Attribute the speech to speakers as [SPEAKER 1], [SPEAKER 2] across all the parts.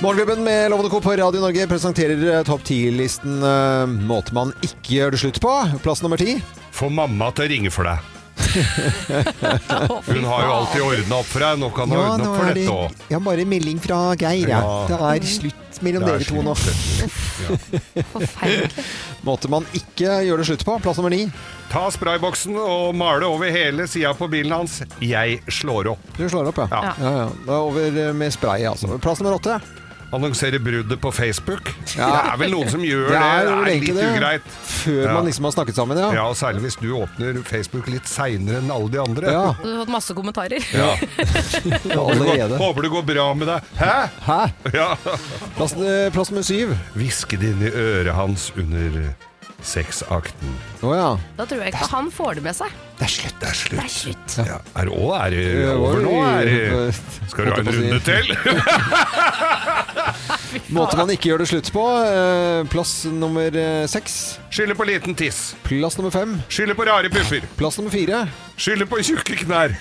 [SPEAKER 1] Morgenklubben med Lovende Co. på Radio Norge presenterer eh, topp 10-listen eh, måte man ikke gjør det slutt på. Plass nummer ti.
[SPEAKER 2] Få mamma til å ringe for deg. Hun har jo alltid ordna opp for deg. Nå kan hun ordne opp for dette òg.
[SPEAKER 1] ja, bare melding fra Geir.
[SPEAKER 2] ja. Ja. Det
[SPEAKER 1] er slutt mellom
[SPEAKER 3] Forferdelig.
[SPEAKER 1] Måte man ikke gjør det slutt på. Plass nummer ni.
[SPEAKER 2] Ta sprayboksen og male over hele sida på bilen hans. Jeg slår opp.
[SPEAKER 1] Du slår opp, ja.
[SPEAKER 2] Ja.
[SPEAKER 1] ja, ja. Da er over eh, med spray, altså. Plass nummer åtte.
[SPEAKER 2] Annonsere bruddet på Facebook. Det
[SPEAKER 1] Ja.
[SPEAKER 2] er vel noen som gjør det.
[SPEAKER 1] Det
[SPEAKER 2] Det
[SPEAKER 1] er
[SPEAKER 2] er,
[SPEAKER 1] jo egentlig
[SPEAKER 2] litt
[SPEAKER 1] det.
[SPEAKER 2] ugreit.
[SPEAKER 1] Før
[SPEAKER 2] Ja.
[SPEAKER 1] man liksom har snakket sammen, ja.
[SPEAKER 2] Ja, og særlig hvis du åpner Facebook litt seinere enn alle de andre.
[SPEAKER 1] Ja,
[SPEAKER 3] Du har fått masse kommentarer.
[SPEAKER 1] allerede.
[SPEAKER 2] Håper det går bra med deg. Hæ?
[SPEAKER 1] Hæ?
[SPEAKER 2] Ja.
[SPEAKER 1] Plass, eh, plass nummer syv.
[SPEAKER 2] Hviske det inn i øret hans under sexakten.
[SPEAKER 1] Å ja.
[SPEAKER 3] Da tror jeg ikke han får det med seg.
[SPEAKER 2] Det er slutt. Det er slutt.
[SPEAKER 3] Det er slutt.
[SPEAKER 2] Ja. Er, å, er det
[SPEAKER 1] Eh,
[SPEAKER 2] over nå? Er det Skal du ha en runde til?
[SPEAKER 1] Måte man ikke gjør det slutt på. eh, Plass nummer eh, seks.
[SPEAKER 2] Skylde på liten tiss.
[SPEAKER 1] Plass nummer fem.
[SPEAKER 2] Skylde på rare pupper.
[SPEAKER 1] Plass nummer fire.
[SPEAKER 2] Skylde på tjukke knær.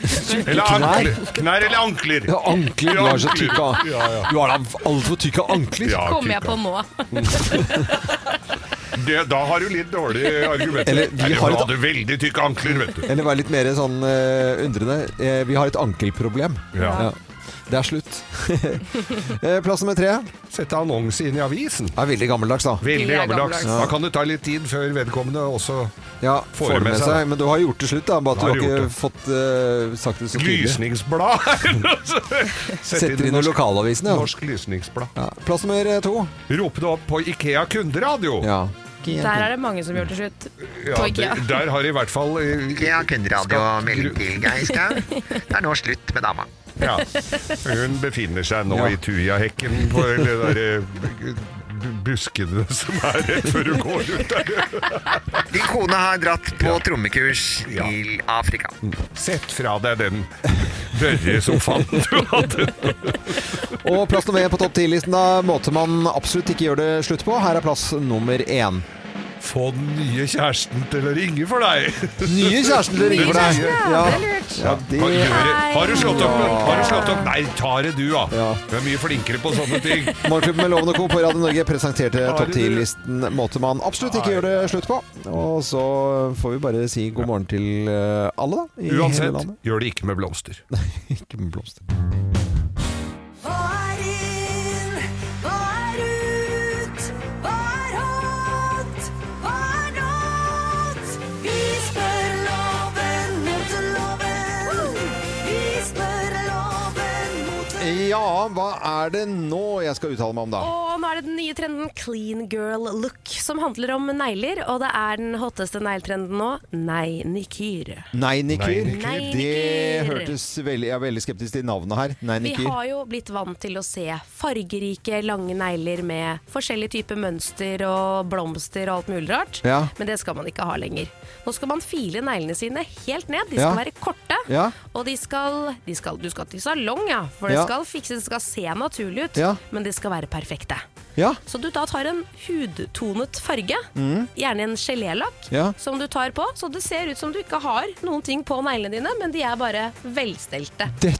[SPEAKER 2] Eller
[SPEAKER 1] knær?
[SPEAKER 2] ankler. Knær eller ankler.
[SPEAKER 1] Ja, ankler. Du har så tykke an-
[SPEAKER 2] Ja, ja.
[SPEAKER 1] Du har da altfor tykke ankler.
[SPEAKER 2] Ja,
[SPEAKER 3] Kommer jeg
[SPEAKER 2] tykk,
[SPEAKER 3] på
[SPEAKER 2] ja.
[SPEAKER 3] nå.
[SPEAKER 2] det, Da har du litt dårlige argumenter.
[SPEAKER 1] Eller, vi har
[SPEAKER 2] da
[SPEAKER 1] et-
[SPEAKER 2] hadde du veldig tykke ankler, vet du.
[SPEAKER 1] Eller vær litt mer sånn eh, undrende. Eh, vi har et ankelproblem.
[SPEAKER 2] Ja.
[SPEAKER 1] Ja. Det er slutt. Eh, Plass nummer tre er
[SPEAKER 2] Sette annonse inn i avisen.
[SPEAKER 1] veldig gammeldags, da.
[SPEAKER 2] Veldig
[SPEAKER 3] Veldig
[SPEAKER 2] gammeldags.
[SPEAKER 3] gammeldags.
[SPEAKER 2] Da kan det ta litt tid før vedkommende også
[SPEAKER 1] Ja, får det med seg. Men du har gjort det slutt, da. Bare
[SPEAKER 2] Har
[SPEAKER 1] at du har
[SPEAKER 2] gjort
[SPEAKER 1] ikke fått eh, sagt det så tydelig.
[SPEAKER 2] Lysningsblad! Sette
[SPEAKER 1] Setter inn i
[SPEAKER 2] norsk,
[SPEAKER 1] lokalavisene, ja.
[SPEAKER 2] norsk lysningsblad.
[SPEAKER 1] ja. Plass nummer eh, to.
[SPEAKER 2] Rope det opp på Ikea kunderadio.
[SPEAKER 1] Ja.
[SPEAKER 3] Der er det mange som gjør til slutt.
[SPEAKER 2] Ja,
[SPEAKER 3] På Ikea.
[SPEAKER 2] der, der har i hvert fall eh,
[SPEAKER 4] Jeg har kunderadio
[SPEAKER 2] Skal-
[SPEAKER 4] og melding til Geir Skau. Det er nå slutt med dama.
[SPEAKER 2] Ja. Hun befinner seg nå
[SPEAKER 1] Ja.
[SPEAKER 2] i tujahekken på det derre bu- buskene som er rett før hun går ut der.
[SPEAKER 4] Din kone har dratt på trommekurs
[SPEAKER 2] Ja.
[SPEAKER 4] til Afrika.
[SPEAKER 2] Sett fra deg den børre sofaen du hadde.
[SPEAKER 1] Og plass nummer én på topp ti-listen, da. Måte man absolutt ikke gjør det slutt på. Her er plass nummer én.
[SPEAKER 2] Få den nye kjæresten til å ringe for deg.
[SPEAKER 1] Nye kjæresten til å ringe for deg. Ja,
[SPEAKER 2] Hva
[SPEAKER 1] ja det
[SPEAKER 2] gjør du? Har du slått opp? Har du slått opp? Nei, ta det du, da.
[SPEAKER 1] Ja.
[SPEAKER 2] Du er mye flinkere på sånne ting.
[SPEAKER 1] Morgenklubben med Loven og Co. på Radio Norge presenterte
[SPEAKER 2] Har
[SPEAKER 1] topp
[SPEAKER 2] du-
[SPEAKER 1] 10-listen måte man absolutt ikke gjør det slutt på. Og så får vi bare si god morgen til eh, alle, da. I hele
[SPEAKER 2] Uansett,
[SPEAKER 1] landet.
[SPEAKER 2] gjør det ikke med blomster.
[SPEAKER 1] Ikke med blomster.
[SPEAKER 5] Hva er inn? Hva er ut? Hva er hot? Hva er not? Vi spør loven mot loven. Vi spør loven mot loven.
[SPEAKER 1] Ja, hva er det nå jeg skal uttale meg om, da?
[SPEAKER 3] Og nå er det den nye trenden clean girl look, som handler om negler. Og det er den hotteste negletrenden nå. Nei, nikyr.
[SPEAKER 1] Nei,
[SPEAKER 2] Nei,
[SPEAKER 1] Nikyr.
[SPEAKER 3] Nikyr.
[SPEAKER 1] Det
[SPEAKER 3] Nei, Nikyr.
[SPEAKER 1] hørtes veldig Jeg er veldig skeptisk til navnet her. Nei,
[SPEAKER 3] Vi
[SPEAKER 1] Nikyr.
[SPEAKER 3] har jo blitt vant til å se fargerike, lange negler med forskjellige typer mønster og blomster og alt mulig rart.
[SPEAKER 1] Ja.
[SPEAKER 3] Men det skal man ikke ha lenger. Nå skal man file neglene sine helt ned. De skal
[SPEAKER 1] Ja.
[SPEAKER 3] være korte.
[SPEAKER 1] Ja.
[SPEAKER 3] Og de skal, de skal Du skal til salong, ja. For det
[SPEAKER 1] Ja.
[SPEAKER 3] skal fikses, det skal se naturlig ut.
[SPEAKER 1] Ja.
[SPEAKER 3] Men de skal være perfekte.
[SPEAKER 1] Ja.
[SPEAKER 3] Så du da tar en hudtonet farge, gjerne en gelélakk,
[SPEAKER 1] Mm. Ja.
[SPEAKER 3] som du tar på. Så det ser ut som du ikke har noen ting på neglene dine, men de er bare velstelte.
[SPEAKER 1] Det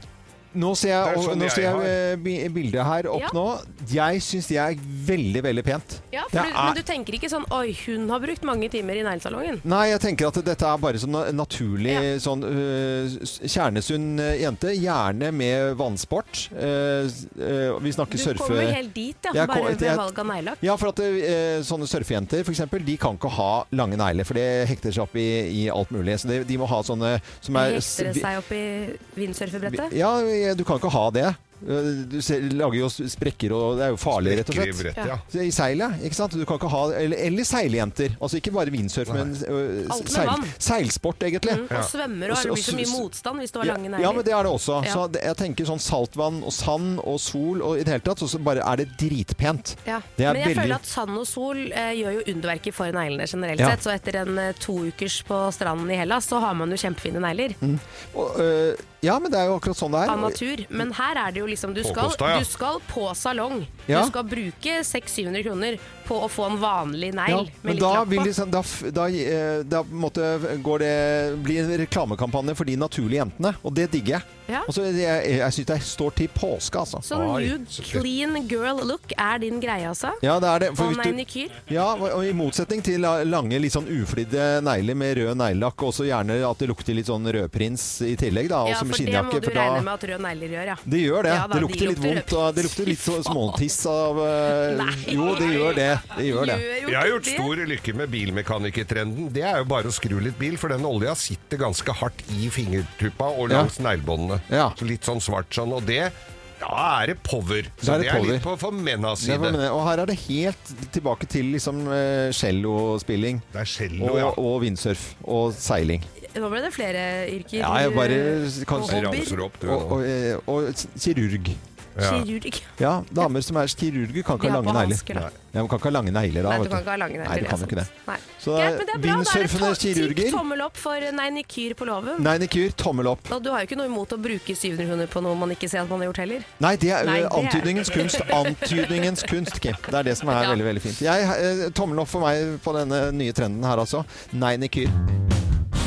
[SPEAKER 1] nå ser jeg,
[SPEAKER 2] Det er sånn
[SPEAKER 1] nå
[SPEAKER 2] jeg
[SPEAKER 1] ser jeg
[SPEAKER 2] har.
[SPEAKER 1] eh, bi- bildet her opp
[SPEAKER 3] Ja.
[SPEAKER 1] nå. Jeg syns det er veldig, veldig pent.
[SPEAKER 3] Ja, for
[SPEAKER 1] Det
[SPEAKER 3] du,
[SPEAKER 1] er-
[SPEAKER 3] Men du tenker ikke sånn Oi, hun har brukt mange timer i neglesalongen.
[SPEAKER 1] Nei, jeg tenker at dette er bare sånn na- naturlig
[SPEAKER 3] Ja.
[SPEAKER 1] sånn øh, s- kjernesunn øh, jente. Gjerne med vannsport. Øh, s- øh, vi
[SPEAKER 3] Du
[SPEAKER 1] snakker surfe...
[SPEAKER 3] kommer helt dit, ja.
[SPEAKER 1] Jeg
[SPEAKER 3] bare
[SPEAKER 1] kom-
[SPEAKER 3] ved
[SPEAKER 1] jeg-
[SPEAKER 3] valg av neglelakk.
[SPEAKER 1] Ja, for at øh, sånne surfejenter for eksempel, de kan ikke ha lange negler, for det hekter seg opp i, i alt mulig. Så de, de må ha sånne som
[SPEAKER 3] De
[SPEAKER 1] er
[SPEAKER 3] Hekter det seg opp i
[SPEAKER 1] vi-
[SPEAKER 3] vindsurfebrettet?
[SPEAKER 1] Ja, du kan ikke ha det. Eh, Du ser, lager jo sprekker, og det er jo farlig, rett og
[SPEAKER 2] Skrev
[SPEAKER 1] slett.
[SPEAKER 2] rett, ja.
[SPEAKER 1] Så I seilet, ikke sant? Du kan ikke ha, eller, eller seiljenter. Altså ikke bare windsurf, men øh,
[SPEAKER 3] Alt med
[SPEAKER 1] seil,
[SPEAKER 3] vann. Mm.
[SPEAKER 1] seilsport, egentlig.
[SPEAKER 3] Og svømmer, og
[SPEAKER 1] Og så-
[SPEAKER 3] det blir så
[SPEAKER 1] og
[SPEAKER 3] mye
[SPEAKER 1] så-
[SPEAKER 3] motstand hvis du har
[SPEAKER 1] Ja,
[SPEAKER 3] lange
[SPEAKER 1] ja, men
[SPEAKER 3] negler.
[SPEAKER 1] det er det også.
[SPEAKER 3] Ja.
[SPEAKER 1] Så det, jeg tenker sånn saltvann og sand og sol og i det hele tatt, så- så bare er det dritpent.
[SPEAKER 3] Ja.
[SPEAKER 1] Det er
[SPEAKER 3] Men jeg
[SPEAKER 1] veldig-
[SPEAKER 3] føler at sand og sol eh, gjør jo underverker for neglene generelt
[SPEAKER 1] Ja.
[SPEAKER 3] sett. Så etter en eh, to ukers på stranden i Hellas, så har man jo kjempefine negler
[SPEAKER 1] Mm. Og, øh, ja, men det er jo akkurat sånn det er.
[SPEAKER 3] av natur. Men her er det jo liksom Du skal,
[SPEAKER 2] Påkosta, ja.
[SPEAKER 3] du skal på salong.
[SPEAKER 1] Ja.
[SPEAKER 3] Du skal bruke 600-700 kroner på å få en vanlig
[SPEAKER 1] Ja,
[SPEAKER 3] negl med
[SPEAKER 1] men
[SPEAKER 3] litt
[SPEAKER 1] da,
[SPEAKER 3] lapp
[SPEAKER 1] vil
[SPEAKER 3] på.
[SPEAKER 1] liksom, da, f- da, eh, da på en måte går det, blir det en reklamekampanje for de naturlige jentene, og det digger jeg.
[SPEAKER 3] Ja.
[SPEAKER 1] Og så jeg jeg, jeg syns det står til påske, altså.
[SPEAKER 3] Så
[SPEAKER 2] Oi,
[SPEAKER 3] new
[SPEAKER 2] så det-
[SPEAKER 3] Sånn clean girl look er din greie, altså.
[SPEAKER 1] Ja, det er det. For
[SPEAKER 3] Og
[SPEAKER 1] hvis du,
[SPEAKER 3] manikyr.
[SPEAKER 1] ja, og og I motsetning til la- lange, litt sånn uflidde negler med rød neglelakk, og så gjerne at det lukter litt sånn rødprins i tillegg, da, og
[SPEAKER 3] Ja,
[SPEAKER 1] som
[SPEAKER 3] for det
[SPEAKER 1] altså, skinnjakke.
[SPEAKER 3] må du
[SPEAKER 1] for da-
[SPEAKER 3] regne med at røde negler gjør, ja.
[SPEAKER 1] Det gjør det.
[SPEAKER 3] Ja da,
[SPEAKER 1] det
[SPEAKER 3] de
[SPEAKER 1] lukter litt
[SPEAKER 3] lukter
[SPEAKER 1] vondt. Og det lukter litt så småtiss av eh,
[SPEAKER 3] Nei.
[SPEAKER 1] Jo, det gjør det. Det gjør det.
[SPEAKER 3] Gjør jo
[SPEAKER 2] Jeg har gjort
[SPEAKER 3] ikke det.
[SPEAKER 2] stor lykke med bilmekanikertrenden. Det er jo bare å skru litt bil, for den olja sitter ganske hardt i fingertuppa og
[SPEAKER 1] Ja.
[SPEAKER 2] langs neglebåndene.
[SPEAKER 1] Ja.
[SPEAKER 2] Så Litt sånn svart sånn, og det da er det power. Så
[SPEAKER 1] Da er det
[SPEAKER 2] det er litt på
[SPEAKER 1] power.
[SPEAKER 2] for mennas
[SPEAKER 1] Det er hva jeg
[SPEAKER 2] side.
[SPEAKER 1] mener. Og her er det helt tilbake til liksom eh, cellospilling.
[SPEAKER 2] Det er cello,
[SPEAKER 1] Og,
[SPEAKER 2] ja.
[SPEAKER 1] og windsurf og seiling.
[SPEAKER 3] Nå ble det flere yrker.
[SPEAKER 1] Ja, jeg bare kan altså.
[SPEAKER 3] og
[SPEAKER 2] Jeg
[SPEAKER 3] hobbyer.
[SPEAKER 2] ramser opp, du.
[SPEAKER 1] Og, og, eh, og s- kirurg.
[SPEAKER 2] Ja.
[SPEAKER 3] Kirurg.
[SPEAKER 1] Ja, damer som er kirurger kan
[SPEAKER 3] De
[SPEAKER 1] ikke ha
[SPEAKER 3] har på
[SPEAKER 1] lange negler.
[SPEAKER 3] hansker, da.
[SPEAKER 1] Ja, man kan ikke ha lange negler da.
[SPEAKER 3] Nei, du
[SPEAKER 1] vet
[SPEAKER 3] kan ikke ha lange negler. altså.
[SPEAKER 1] Nei, du
[SPEAKER 3] det er
[SPEAKER 1] kan jo ikke det.
[SPEAKER 3] sant. Nei.
[SPEAKER 1] Så
[SPEAKER 3] Greit, men det er bra. Da er det
[SPEAKER 1] vindsurfende
[SPEAKER 3] to-
[SPEAKER 1] kirurger.
[SPEAKER 3] tikk tommel opp for Neinikyr på låven.
[SPEAKER 1] Neinikyr, tommel opp.
[SPEAKER 3] Og du har jo ikke noe imot å bruke 700 kroner på noe man ikke ser at man har gjort heller.
[SPEAKER 1] Nei, det er
[SPEAKER 3] Nei,
[SPEAKER 1] eh,
[SPEAKER 3] det er-
[SPEAKER 1] antydningens kunst. Antydningens kunst, Kim. Det er det som er
[SPEAKER 3] Ja.
[SPEAKER 1] veldig veldig fint. Jeg, eh, tommel opp for meg på denne nye trenden her, altså. Nei, Nikyr.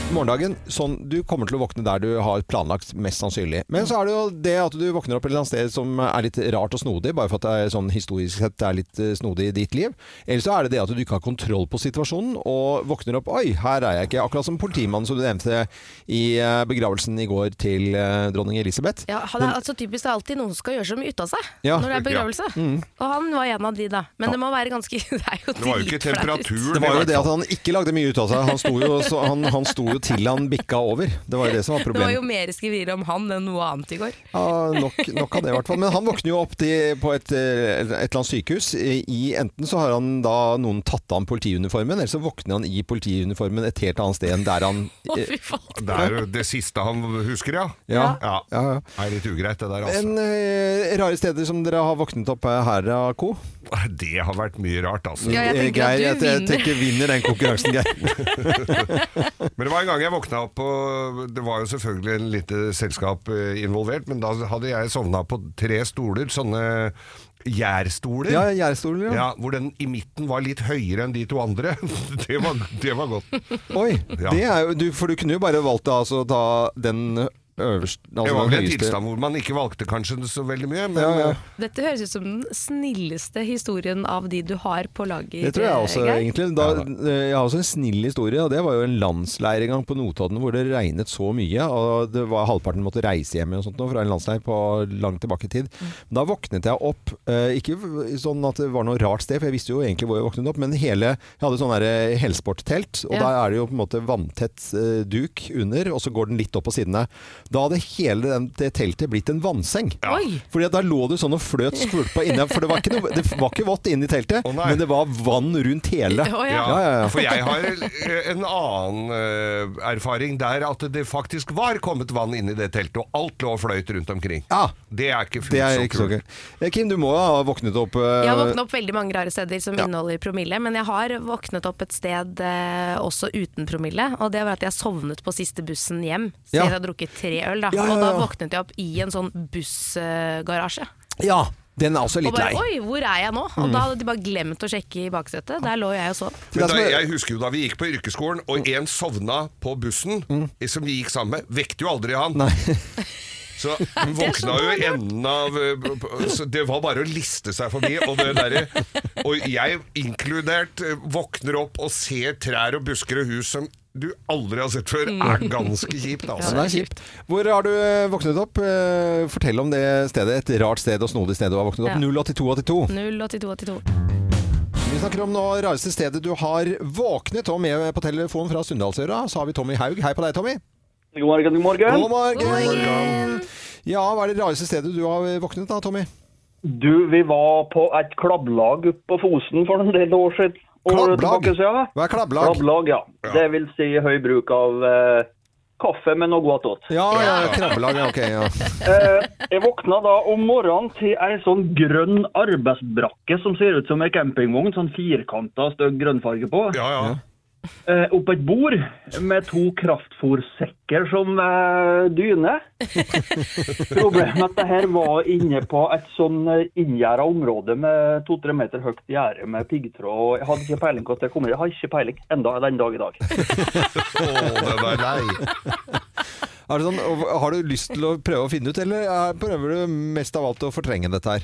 [SPEAKER 1] Morgendagen, sånn, Du kommer til å våkne der du har planlagt, mest sannsynlig. Men så er det jo det at du våkner opp et eller annet sted som er litt rart og snodig, bare for at det er sånn historisk sett er litt eh, snodig i ditt liv. Eller så er det det at du ikke har kontroll på situasjonen og våkner opp Oi, her er jeg ikke. Akkurat som politimannen som du nevnte i eh, begravelsen i går til eh, dronning Elisabeth.
[SPEAKER 3] Ja, han er, altså typisk Det er alltid noen som skal gjøre så mye ut av seg
[SPEAKER 1] Ja. Mm.
[SPEAKER 3] når det er begravelse. Og han var en av de, da. Men det må være ganske Det er jo
[SPEAKER 2] Det var jo ikke
[SPEAKER 3] dritflaut.
[SPEAKER 2] temperaturen.
[SPEAKER 1] Det var
[SPEAKER 2] i
[SPEAKER 1] jo det
[SPEAKER 2] hvert
[SPEAKER 1] at
[SPEAKER 2] fall.
[SPEAKER 1] han ikke lagde mye ut av seg. Han sto jo, så, han, han sto jo til han bikka over. Det var jo det som var
[SPEAKER 3] Det var jo
[SPEAKER 1] problemet.
[SPEAKER 3] mer skriverier om han enn noe annet i går.
[SPEAKER 1] Ja, nok, nok av det, i hvert fall. Men han våkner jo opp til, på et, eh, et eller annet sykehus. I, i- enten så har han da noen tatt av han politiuniformen, eller så våkner han i politiuniformen et helt annet sted enn der han
[SPEAKER 3] Å,
[SPEAKER 1] eh,
[SPEAKER 3] fy faen.
[SPEAKER 2] Det er jo det siste han husker, ja.
[SPEAKER 1] Ja.
[SPEAKER 2] ja.
[SPEAKER 1] ja, ja.
[SPEAKER 2] Det er litt ugreit, det der, altså.
[SPEAKER 1] Men eh, rare steder som dere har våknet opp her, eh, Co.
[SPEAKER 2] Det har vært mye rart, altså.
[SPEAKER 3] Ja, jeg
[SPEAKER 1] Eh,
[SPEAKER 3] tenker at du
[SPEAKER 1] Geir, jeg, jeg
[SPEAKER 3] vinner.
[SPEAKER 1] tenker vinner den konkurransen, Geir.
[SPEAKER 2] Men det var en gang jeg våkna opp, og det var jo selvfølgelig en lite selskap eh, involvert, men da hadde jeg sovna på tre stoler, sånne gjærstoler.
[SPEAKER 1] Ja, Gjærstolen, ja.
[SPEAKER 2] Ja, hvor den i midten var litt høyere enn de to andre. Det var, det var godt.
[SPEAKER 1] Oi,
[SPEAKER 2] Ja.
[SPEAKER 1] det er jo, du, for du kunne jo bare valgt da, altså, å ta den øverste
[SPEAKER 2] Det
[SPEAKER 1] altså,
[SPEAKER 2] var vel
[SPEAKER 1] den
[SPEAKER 2] en
[SPEAKER 1] høyeste.
[SPEAKER 2] tilstand hvor man ikke valgte kanskje så veldig mye, men
[SPEAKER 1] Ja, ja.
[SPEAKER 2] eh,
[SPEAKER 3] Dette høres ut som den snilleste historien av de du har på lager.
[SPEAKER 1] Det tror jeg også,
[SPEAKER 3] eh, Geir.
[SPEAKER 1] egentlig. Da, eh, jeg har også en snill historie, og det var jo en landsleir en gang på Notodden hvor det regnet så mye, og det var halvparten måtte reise hjem og sånt nå, fra en landsleir på langt tilbake i tid.
[SPEAKER 3] Mm.
[SPEAKER 1] Da våknet jeg opp, eh, ikke v- sånn at det var noe rart sted, for jeg visste jo egentlig hvor jeg våknet opp, men hele, jeg hadde sånn der eh, helsporttelt, og
[SPEAKER 3] Ja.
[SPEAKER 1] der er det jo på en måte vanntett eh, duk under, og så går den litt opp på sidene. Da hadde hele den, det teltet blitt en vannseng.
[SPEAKER 3] Oi!
[SPEAKER 1] Fordi at der lå du sånn og fløt skvulpa inni, for det var ikke, noe, det var ikke vått inni teltet,
[SPEAKER 2] Å, nei.
[SPEAKER 1] men det var vann rundt hele.
[SPEAKER 3] Å, ja.
[SPEAKER 2] ja.
[SPEAKER 1] Ja, ja, ja.
[SPEAKER 2] For jeg har eh, en annen eh, erfaring der at det faktisk var kommet vann inn i det teltet, og alt lå og fløyt rundt omkring.
[SPEAKER 1] Ja.
[SPEAKER 2] Det er ikke
[SPEAKER 1] Det
[SPEAKER 2] fullt
[SPEAKER 1] er
[SPEAKER 2] så
[SPEAKER 1] ikke så
[SPEAKER 2] kult.
[SPEAKER 1] gøy. Eh, Kim, du må ha våknet opp eh,
[SPEAKER 3] Jeg har våknet opp veldig mange rare steder som
[SPEAKER 1] Ja.
[SPEAKER 3] inneholder promille, men jeg har våknet opp et sted eh, også uten promille, og det var at jeg sovnet på siste bussen hjem. Så
[SPEAKER 1] Ja.
[SPEAKER 3] jeg hadde drukket tre øl, da.
[SPEAKER 1] Ja, ja,
[SPEAKER 3] Og da
[SPEAKER 1] ja.
[SPEAKER 3] våknet jeg opp i en sånn bussgarasje.
[SPEAKER 1] Ja, den er også
[SPEAKER 3] Og
[SPEAKER 1] litt
[SPEAKER 3] bare
[SPEAKER 1] lei. Mm.
[SPEAKER 3] oi, hvor er jeg nå? Og da hadde de bare glemt å sjekke i baksetet. Der lå jeg og sov.
[SPEAKER 1] Det er
[SPEAKER 2] Men da,
[SPEAKER 1] som er-
[SPEAKER 2] jeg husker jo da vi gikk på yrkesskolen, og en sovna på bussen som vi gikk sammen med. Vekte jo aldri han. Så hun
[SPEAKER 3] Det er så
[SPEAKER 2] våkna jo i
[SPEAKER 3] dårlig.
[SPEAKER 2] enden av eh, så Det var bare å liste seg forbi. Og, det derre- og jeg inkludert eh, våkner opp og ser trær og busker og hus som du aldri har sett før. Er ganske kjipt,
[SPEAKER 1] Ja,
[SPEAKER 2] altså.
[SPEAKER 1] det er kjipt. Hvor har du eh, våknet opp? Eh, Fortell om det stedet. Et rart sted og snodig sted du har våknet
[SPEAKER 3] Ja.
[SPEAKER 1] opp. 08282.
[SPEAKER 3] 08282.
[SPEAKER 1] Vi snakker om nå rareste stedet du har våknet. Og med på telefon fra Sunndalsøra så har vi Tommy Haug. Hei på deg, Tommy.
[SPEAKER 6] God morgen, god morgen.
[SPEAKER 1] God morgen! Ja, hva er det rareste stedet du har våknet da, Tommy?
[SPEAKER 6] Du, vi var på et klabblag oppe på Fosen for en del år siden. år
[SPEAKER 1] Klabblag?
[SPEAKER 6] tilbake siden.
[SPEAKER 1] Hva er klabblag?
[SPEAKER 6] Klabblag, ja. Det vil si høy bruk av eh, kaffe med noe godt åt.
[SPEAKER 1] Ja, ja, krabbelag, ja, ok. Ja.
[SPEAKER 6] Eh, jeg våkna da om morgenen til ei sånn grønn arbeidsbrakke som ser ut som ei campingvogn. Sånn firkanta, stygg grønnfarge på.
[SPEAKER 2] Ja, ja.
[SPEAKER 6] Eh, oppå et bord med to kraftfòrsekker som eh, dyne. Problemet er at det her var inne på et sånn eh, inngjerda område med to-tre meter høyt gjerde med piggtråd. og Jeg hadde ikke peiling på at det kommer. Jeg har ikke peiling enda den dag i dag.
[SPEAKER 2] Å, det der.
[SPEAKER 1] Er det sånn, og har du lyst til å prøve å finne ut, eller er- prøver du mest av alt å fortrenge dette her?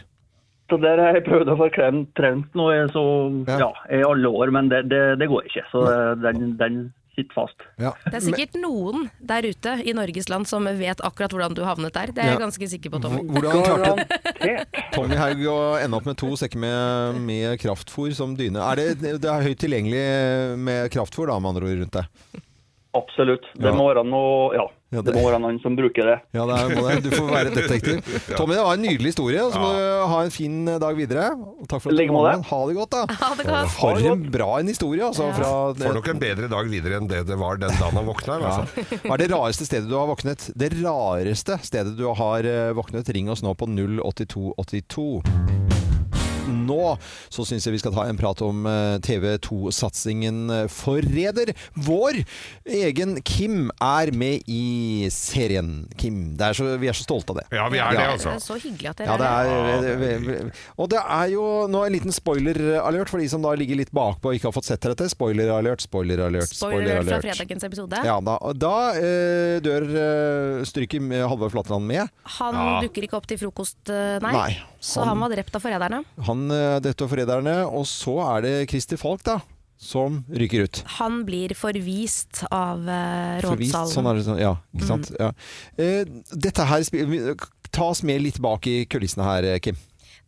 [SPEAKER 6] Så der har jeg prøvd å få krem- trent nå i så,
[SPEAKER 1] Ja.
[SPEAKER 6] ja, i alle år, men det, det, det går ikke. Så eh, den, den sitter fast.
[SPEAKER 1] Ja.
[SPEAKER 3] Det er sikkert noen der ute i Norges land som vet akkurat hvordan du havnet der. Det er jeg
[SPEAKER 1] Ja.
[SPEAKER 3] ganske sikker på, Tommy.
[SPEAKER 1] Hvor- Hvordan klarte
[SPEAKER 6] Garantert.
[SPEAKER 1] Tommy Haug å ende opp med to sekker med, med kraftfôr som dyne? Er det, det er høyt tilgjengelig med kraftfôr, da, med andre ord, rundt deg?
[SPEAKER 6] Absolutt. Det
[SPEAKER 1] Ja.
[SPEAKER 6] må være noe, ja,
[SPEAKER 1] Ja,
[SPEAKER 6] det
[SPEAKER 1] det-
[SPEAKER 6] må være noen som bruker det.
[SPEAKER 1] Ja, det er, må det. Du får være detektiv. Tommy, det var en nydelig historie. Så må du ha en fin eh, dag videre. Og takk for at du
[SPEAKER 6] Like
[SPEAKER 1] kom.
[SPEAKER 6] måte.
[SPEAKER 1] med. Ha det godt, da.
[SPEAKER 3] Ha det godt.
[SPEAKER 1] For en bra en historie, altså.
[SPEAKER 2] Får
[SPEAKER 1] Fra
[SPEAKER 2] nok en bedre dag videre enn det det var den dagen han våkna. altså. i hvert fall.
[SPEAKER 1] ja. Hva er det rareste stedet du har våknet? Det rareste stedet du har eh, våknet, ring oss nå på 08282. Nå så syns jeg vi skal ta en prat om eh, TV 2-satsingen Forræder. Vår egen Kim er med i serien. Kim. Det er så, vi er så stolte av det.
[SPEAKER 2] Ja, vi er det,
[SPEAKER 3] Det
[SPEAKER 2] altså.
[SPEAKER 3] er så hyggelig at dere
[SPEAKER 1] Ja, det
[SPEAKER 3] er her.
[SPEAKER 2] Ja,
[SPEAKER 1] er, eh,
[SPEAKER 2] det er
[SPEAKER 1] ve- ve- ve- og det er jo nå en liten spoiler-alert for de som da ligger litt bakpå og ikke har fått sett dette. Spoiler-alert, spoiler-alert,
[SPEAKER 3] Spoiler fra
[SPEAKER 1] spoiler-alert.
[SPEAKER 3] fredagens episode.
[SPEAKER 1] Ja, da, og da eh, dør eh, stryker med Halvor Flatland med.
[SPEAKER 3] Han dukker ikke opp til frokost, eh, nei.
[SPEAKER 1] Nei,
[SPEAKER 3] Så
[SPEAKER 1] han-
[SPEAKER 3] han var drept av forræderne.
[SPEAKER 1] Han eh, dette og forræderne, og så er det Christer Falk da, som ryker ut.
[SPEAKER 3] Han blir forvist av eh,
[SPEAKER 1] Forvist,
[SPEAKER 3] rådsalen.
[SPEAKER 1] Sånn er det, sånn, ja, ikke sant?
[SPEAKER 3] Mm.
[SPEAKER 1] Ja. Eh, dette her spi- vi- tas med litt bak i kulissene her, eh, Kim.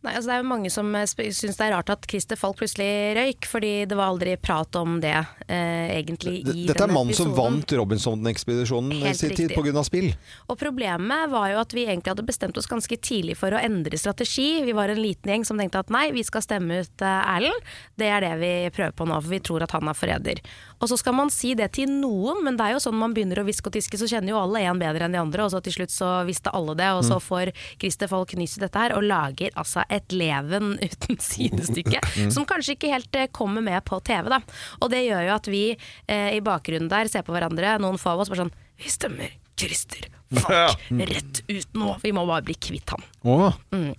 [SPEAKER 3] Nei, altså det er jo mange som eh, sp- syns det er rart at Christer Falk plutselig røyk, fordi det var aldri prat om det eh, egentlig i
[SPEAKER 1] D- Dette er
[SPEAKER 3] denne
[SPEAKER 1] mannen som
[SPEAKER 3] episoden.
[SPEAKER 1] vant Robinson-ekspedisjonen i
[SPEAKER 3] Helt
[SPEAKER 1] sin tid
[SPEAKER 3] riktig.
[SPEAKER 1] pga. spill.
[SPEAKER 3] Og problemet var jo at vi egentlig hadde bestemt oss ganske tidlig for å endre strategi. Vi var en liten gjeng som tenkte at nei, vi skal stemme ut eh, Erlend. Det er det vi prøver på nå, for vi tror at han er forræder. Og så skal man si det til noen, men det er jo sånn man begynner å hviske og tiske, så kjenner jo alle en bedre enn de andre, og så til slutt så visste alle det, og så får Christer Falk nyss i dette her, og lager altså et leven uten sidestykke, som kanskje ikke helt eh, kommer med på TV, da. Og det gjør jo at vi eh, i bakgrunnen der ser på hverandre, noen få av oss bare sånn, vi stemmer. Christer Fuck, rett ut nå. Vi må bare bli kvitt han.
[SPEAKER 1] Åh.
[SPEAKER 3] Mm.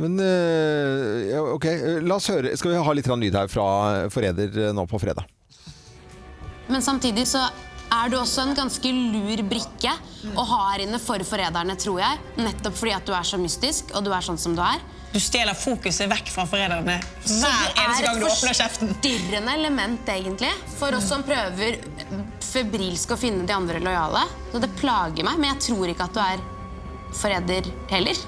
[SPEAKER 1] Men eh, ja, ok, eh, la oss høre. Skal vi ha litt grann lyd her fra eh, Forræder eh, nå på fredag?
[SPEAKER 7] Men samtidig så er du også en ganske lur brikke å ha her inne for forræderne, tror jeg. Nettopp fordi at du er så mystisk, og du er sånn som du er.
[SPEAKER 8] Du stjeler fokuset vekk fra forræderne
[SPEAKER 7] Så
[SPEAKER 8] hver
[SPEAKER 7] du
[SPEAKER 8] eneste
[SPEAKER 7] er
[SPEAKER 8] gang
[SPEAKER 7] et
[SPEAKER 8] du åpner kjeften.
[SPEAKER 7] forstyrrende element, egentlig, for oss som prøver febrilsk å finne de andre lojale. Så det plager meg, men jeg tror ikke at du er forræder heller.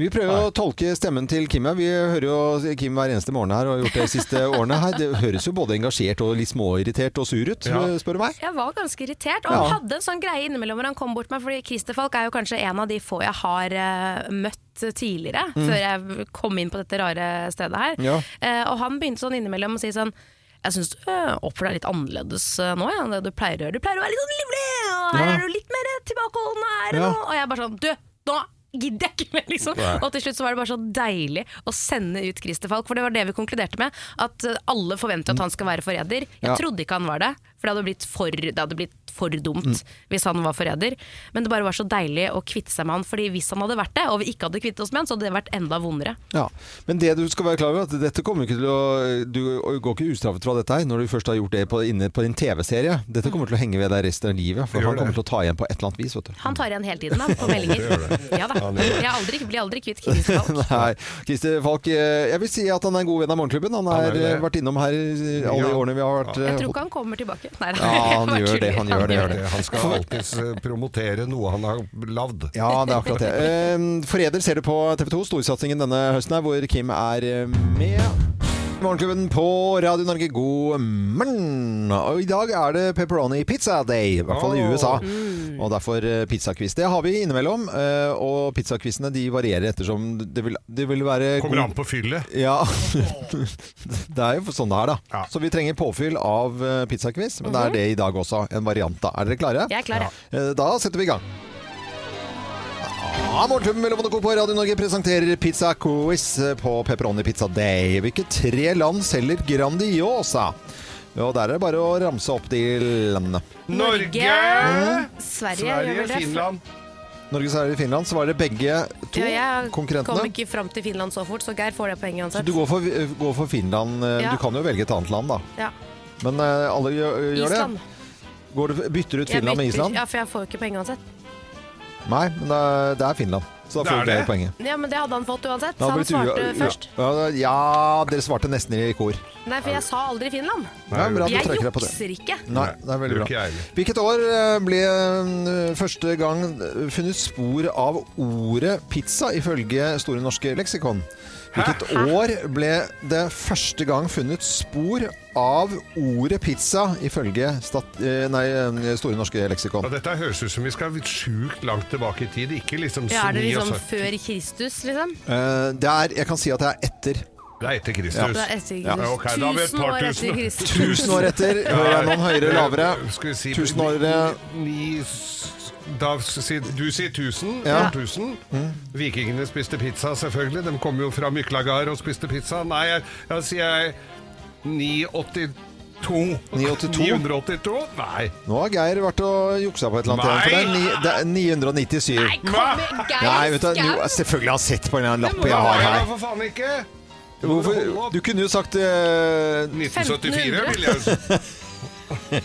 [SPEAKER 1] Vi prøver å tolke stemmen til Kim. her. Vi hører jo Kim hver eneste morgen her og har gjort det de siste årene. her. Det høres jo både engasjert og litt småirritert og sur ut,
[SPEAKER 2] Ja.
[SPEAKER 1] spør du meg.
[SPEAKER 3] Jeg var ganske irritert, og han
[SPEAKER 1] Ja.
[SPEAKER 3] hadde en sånn greie innimellom hvor han kom bort meg, fordi Christer Falk er jo kanskje en av de få jeg har eh, møtt tidligere, før jeg kom inn på dette rare stedet her.
[SPEAKER 1] Mm. Ja.
[SPEAKER 3] Eh, og han begynte sånn innimellom å si sånn jeg syns du eh, oppfører deg litt annerledes eh, nå ja, enn det du pleier å gjøre. Du pleier å være litt sånn livlig, og her
[SPEAKER 1] Ja.
[SPEAKER 3] er du litt mer tilbakeholden. Her,
[SPEAKER 1] Ja.
[SPEAKER 3] og, og jeg bare sånn Du, nå gidder jeg ikke mer, liksom. Og til slutt så var det bare så deilig å sende ut Christer Falk, for det var det vi konkluderte med. At eh, alle forventer at han skal være forræder. Jeg
[SPEAKER 1] Ja.
[SPEAKER 3] trodde ikke han var det, for det hadde blitt for, det hadde blitt for dumt
[SPEAKER 1] Mm.
[SPEAKER 3] hvis han var forræder. Men det bare var så deilig å kvitte seg med han, Fordi hvis han hadde vært det, og vi ikke hadde kvittet oss med han, så hadde det vært enda vondere.
[SPEAKER 1] Ja. Men det du skal være klar over, er at dette kommer ikke til å Du går ikke ustraffet fra dette her når du først har gjort det på, inne på din TV-serie. Dette kommer til å henge ved deg resten av livet, for
[SPEAKER 2] Gjør
[SPEAKER 1] han
[SPEAKER 2] det.
[SPEAKER 1] kommer til å ta igjen på et eller annet vis, vet du.
[SPEAKER 3] Han tar igjen hele tiden da, på meldinger. Ja da. Jeg er aldri, blir aldri kvitt Christer Falk.
[SPEAKER 1] Nei, Christer Falk, eh, jeg vil si at han er en god venn av Morgenklubben. Han
[SPEAKER 2] Han
[SPEAKER 1] har
[SPEAKER 2] er det.
[SPEAKER 1] eh, vært innom her i alle de
[SPEAKER 2] Ja.
[SPEAKER 1] årene vi har vært
[SPEAKER 3] Jeg
[SPEAKER 1] eh,
[SPEAKER 3] tror ikke han kommer tilbake. Nei, nei,
[SPEAKER 1] Ja,
[SPEAKER 3] jeg
[SPEAKER 1] han
[SPEAKER 3] bare
[SPEAKER 1] gjør det,
[SPEAKER 3] tuller.
[SPEAKER 1] han gjør det,
[SPEAKER 2] Det er det. Han skal alltids eh, promotere noe han har lagd.
[SPEAKER 1] Ja, det er akkurat det. Eh, Forræder ser du på TV 2, storsatsingen denne høsten her, hvor Kim er eh, med. Morgenklubben på Radio Norge, god morgen! Og i dag er det pepperoni pizza day, i hvert fall i
[SPEAKER 2] Åh. Mm.
[SPEAKER 1] USA. Og derfor eh, pizzaquiz. Det har vi innimellom. eh, Og pizzaquizene de varierer ettersom det vil, det vil være
[SPEAKER 2] Kommer an på fyllet.
[SPEAKER 1] Ja. Det er jo sånn det er, da.
[SPEAKER 2] Ja. Mhm.
[SPEAKER 1] Så vi trenger påfyll av eh, pizzaquiz, men det er det i dag også. En variant, da. Er dere klare?
[SPEAKER 3] Jeg er klar, jeg.
[SPEAKER 1] Eh, Da setter vi i gang. Ja, Morten Mellom og Co. på Radio Norge presenterer Pizza Quiz eh, på Pepperoni Pizza Day. Hvilke tre land selger Grandiosa? Og der er det bare å ramse opp de landene.
[SPEAKER 2] Norge!
[SPEAKER 3] Sverige, gjør
[SPEAKER 2] Sverige,
[SPEAKER 3] vel det.
[SPEAKER 2] Finland.
[SPEAKER 1] Norge, Sverige, Finland. Så var det begge to
[SPEAKER 3] Ja, jeg kom
[SPEAKER 1] konkurrentene.
[SPEAKER 3] ikke fram til Finland så fort, så Geir får det poenget
[SPEAKER 1] Så
[SPEAKER 3] uansett.
[SPEAKER 1] du går for, eh, går for Finland. eh,
[SPEAKER 3] Ja.
[SPEAKER 1] Du kan jo velge et annet land, da.
[SPEAKER 3] Ja.
[SPEAKER 1] Men eh, alle gjør, gjør det.
[SPEAKER 3] Island.
[SPEAKER 1] Går du, bytter du ut
[SPEAKER 3] Jeg
[SPEAKER 1] Finland med
[SPEAKER 3] bytter-
[SPEAKER 1] Island?
[SPEAKER 3] Ja, for jeg får jo ikke poeng uansett.
[SPEAKER 1] Nei, men det er, det er Finland. Så da
[SPEAKER 2] Det
[SPEAKER 1] får
[SPEAKER 2] er
[SPEAKER 1] du det
[SPEAKER 2] det.
[SPEAKER 1] poenget.
[SPEAKER 3] Ja, men det hadde han fått uansett.
[SPEAKER 1] Da
[SPEAKER 3] Så han
[SPEAKER 1] blir det
[SPEAKER 3] svarte
[SPEAKER 1] u-
[SPEAKER 3] først.
[SPEAKER 1] Ja, ja, dere svarte nesten i kor.
[SPEAKER 3] Nei, for jeg sa aldri Finland.
[SPEAKER 1] Ja, bra at du
[SPEAKER 3] Jeg
[SPEAKER 1] trekker deg på det.
[SPEAKER 3] jukser ikke.
[SPEAKER 1] Nei, det er veldig
[SPEAKER 2] det gjør
[SPEAKER 1] bra.
[SPEAKER 2] ikke jeg heller.
[SPEAKER 1] Hvilket år eh, ble eh, første gang eh, funnet spor av ordet pizza, ifølge Store norske leksikon? Hvilket år ble det første gang funnet spor av ordet pizza, ifølge stat, eh, nei, eh, Store norske leksikon?
[SPEAKER 2] Ja, dette høres ut som vi skal sjukt langt tilbake i tid. Ikke liksom
[SPEAKER 3] Ja, er det
[SPEAKER 2] 79.
[SPEAKER 3] liksom før Kristus, liksom?
[SPEAKER 1] Eh, Det er, jeg kan si at det er etter.
[SPEAKER 2] Det er etter
[SPEAKER 3] Det
[SPEAKER 2] Kristus.
[SPEAKER 3] er etter
[SPEAKER 2] Ja,
[SPEAKER 3] Kristus.
[SPEAKER 2] ok, da har vi et
[SPEAKER 3] Tusen
[SPEAKER 2] par
[SPEAKER 3] år
[SPEAKER 2] tusen.
[SPEAKER 3] etter Kristus.
[SPEAKER 1] Tusen år etter. Hører jeg noen høyere, lavere?
[SPEAKER 2] Skal vi si
[SPEAKER 1] Tusen år eh,
[SPEAKER 2] Ni, s- da, sier- du sier 1000.
[SPEAKER 1] Ja.
[SPEAKER 2] år 1000. Vikingene spiste pizza, selvfølgelig. De kom jo fra Myklagard og spiste pizza. Nei, jeg, jeg sier 982.
[SPEAKER 1] 982?
[SPEAKER 2] 982? Nei.
[SPEAKER 1] Nå har Geir vært og juksa på et eller annet. igjen, For det er, ni, det er 997.
[SPEAKER 2] Hva?
[SPEAKER 1] Nei, vet du, jo, selvfølgelig har jeg sett på en eller annen lapp jeg
[SPEAKER 2] Nei,
[SPEAKER 1] har
[SPEAKER 2] da,
[SPEAKER 1] her.
[SPEAKER 2] for faen ikke!
[SPEAKER 1] Hvorfor? Du kunne jo sagt eh,
[SPEAKER 2] 1974 vil jeg jo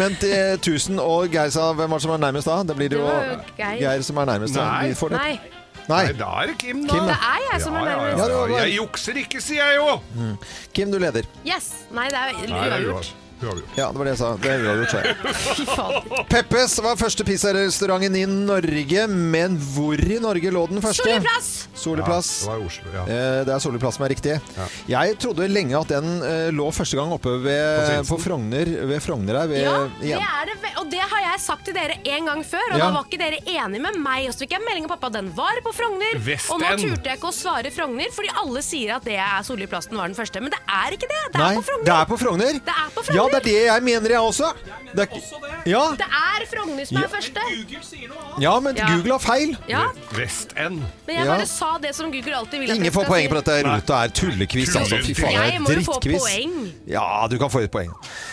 [SPEAKER 1] Men til 1000 og Geir sa Hvem var det som er nærmest da? Det blir jo
[SPEAKER 3] Det var jo Geir.
[SPEAKER 1] Geir som er nærmest. Da.
[SPEAKER 2] Nei.
[SPEAKER 1] Vi får det.
[SPEAKER 3] Nei,
[SPEAKER 1] Nei.
[SPEAKER 2] Nei, da er det Kim, da.
[SPEAKER 1] Kim,
[SPEAKER 3] det er jeg som er
[SPEAKER 2] ja,
[SPEAKER 3] nærmest.
[SPEAKER 2] ja,
[SPEAKER 1] Ja, det
[SPEAKER 2] ja.
[SPEAKER 1] var-
[SPEAKER 2] Jeg jukser ikke, sier jeg jo!
[SPEAKER 1] Kim, du leder.
[SPEAKER 3] Yes! Nei, det er jo
[SPEAKER 2] Nei, det er
[SPEAKER 3] uavgjort.
[SPEAKER 2] uavgjort. Uavgjort.
[SPEAKER 1] Ja, det var det jeg sa. Det er uavgjort, sa jeg.
[SPEAKER 3] Fy fader.
[SPEAKER 1] Peppes var første pizzarestauranten i Norge, men hvor i Norge lå den første?
[SPEAKER 3] Solli plass!
[SPEAKER 1] Solli
[SPEAKER 2] Ja,
[SPEAKER 1] plass.
[SPEAKER 2] det var i Oslo, ja.
[SPEAKER 1] Eh, Det er Solli plass som er riktig. Jeg trodde lenge at den eh, lå første gang oppe ved,
[SPEAKER 2] Sinsen.
[SPEAKER 1] på Frogner, ved Frogner her. Ved,
[SPEAKER 3] Ja, det
[SPEAKER 1] igjen.
[SPEAKER 3] er det. ve- Og det har jeg sagt til dere en gang før, og
[SPEAKER 1] Ja.
[SPEAKER 3] da var ikke dere enige med meg. Og så fikk jeg melding av pappa, den var på Frogner. Og
[SPEAKER 2] Vestend.
[SPEAKER 3] nå turte jeg ikke å svare Frogner, fordi alle sier at det er Solli Plasten var den første. Men det er ikke det. Det er
[SPEAKER 1] Nei,
[SPEAKER 3] på Frogner.
[SPEAKER 1] det er på Frogner.
[SPEAKER 3] Det er på
[SPEAKER 1] Ja,
[SPEAKER 3] Frogner.
[SPEAKER 1] det er det jeg mener, jeg også. Det er, ja,
[SPEAKER 3] Det er Frogner som
[SPEAKER 1] Ja.
[SPEAKER 3] er første.
[SPEAKER 1] ja, men
[SPEAKER 3] Ja.
[SPEAKER 1] Google har feil.
[SPEAKER 3] Ja,
[SPEAKER 2] Vest End.
[SPEAKER 3] men jeg
[SPEAKER 1] Ja.
[SPEAKER 3] bare sa det som Google alltid vil at
[SPEAKER 1] Ingen
[SPEAKER 3] jeg
[SPEAKER 1] får
[SPEAKER 3] skal
[SPEAKER 1] poeng
[SPEAKER 3] si.
[SPEAKER 1] på dette rotet her. Tullekviss, altså. Fy faen, det er
[SPEAKER 3] Jeg må jo få
[SPEAKER 1] drittkviss.
[SPEAKER 3] poeng.
[SPEAKER 1] Ja, du kan få et poeng.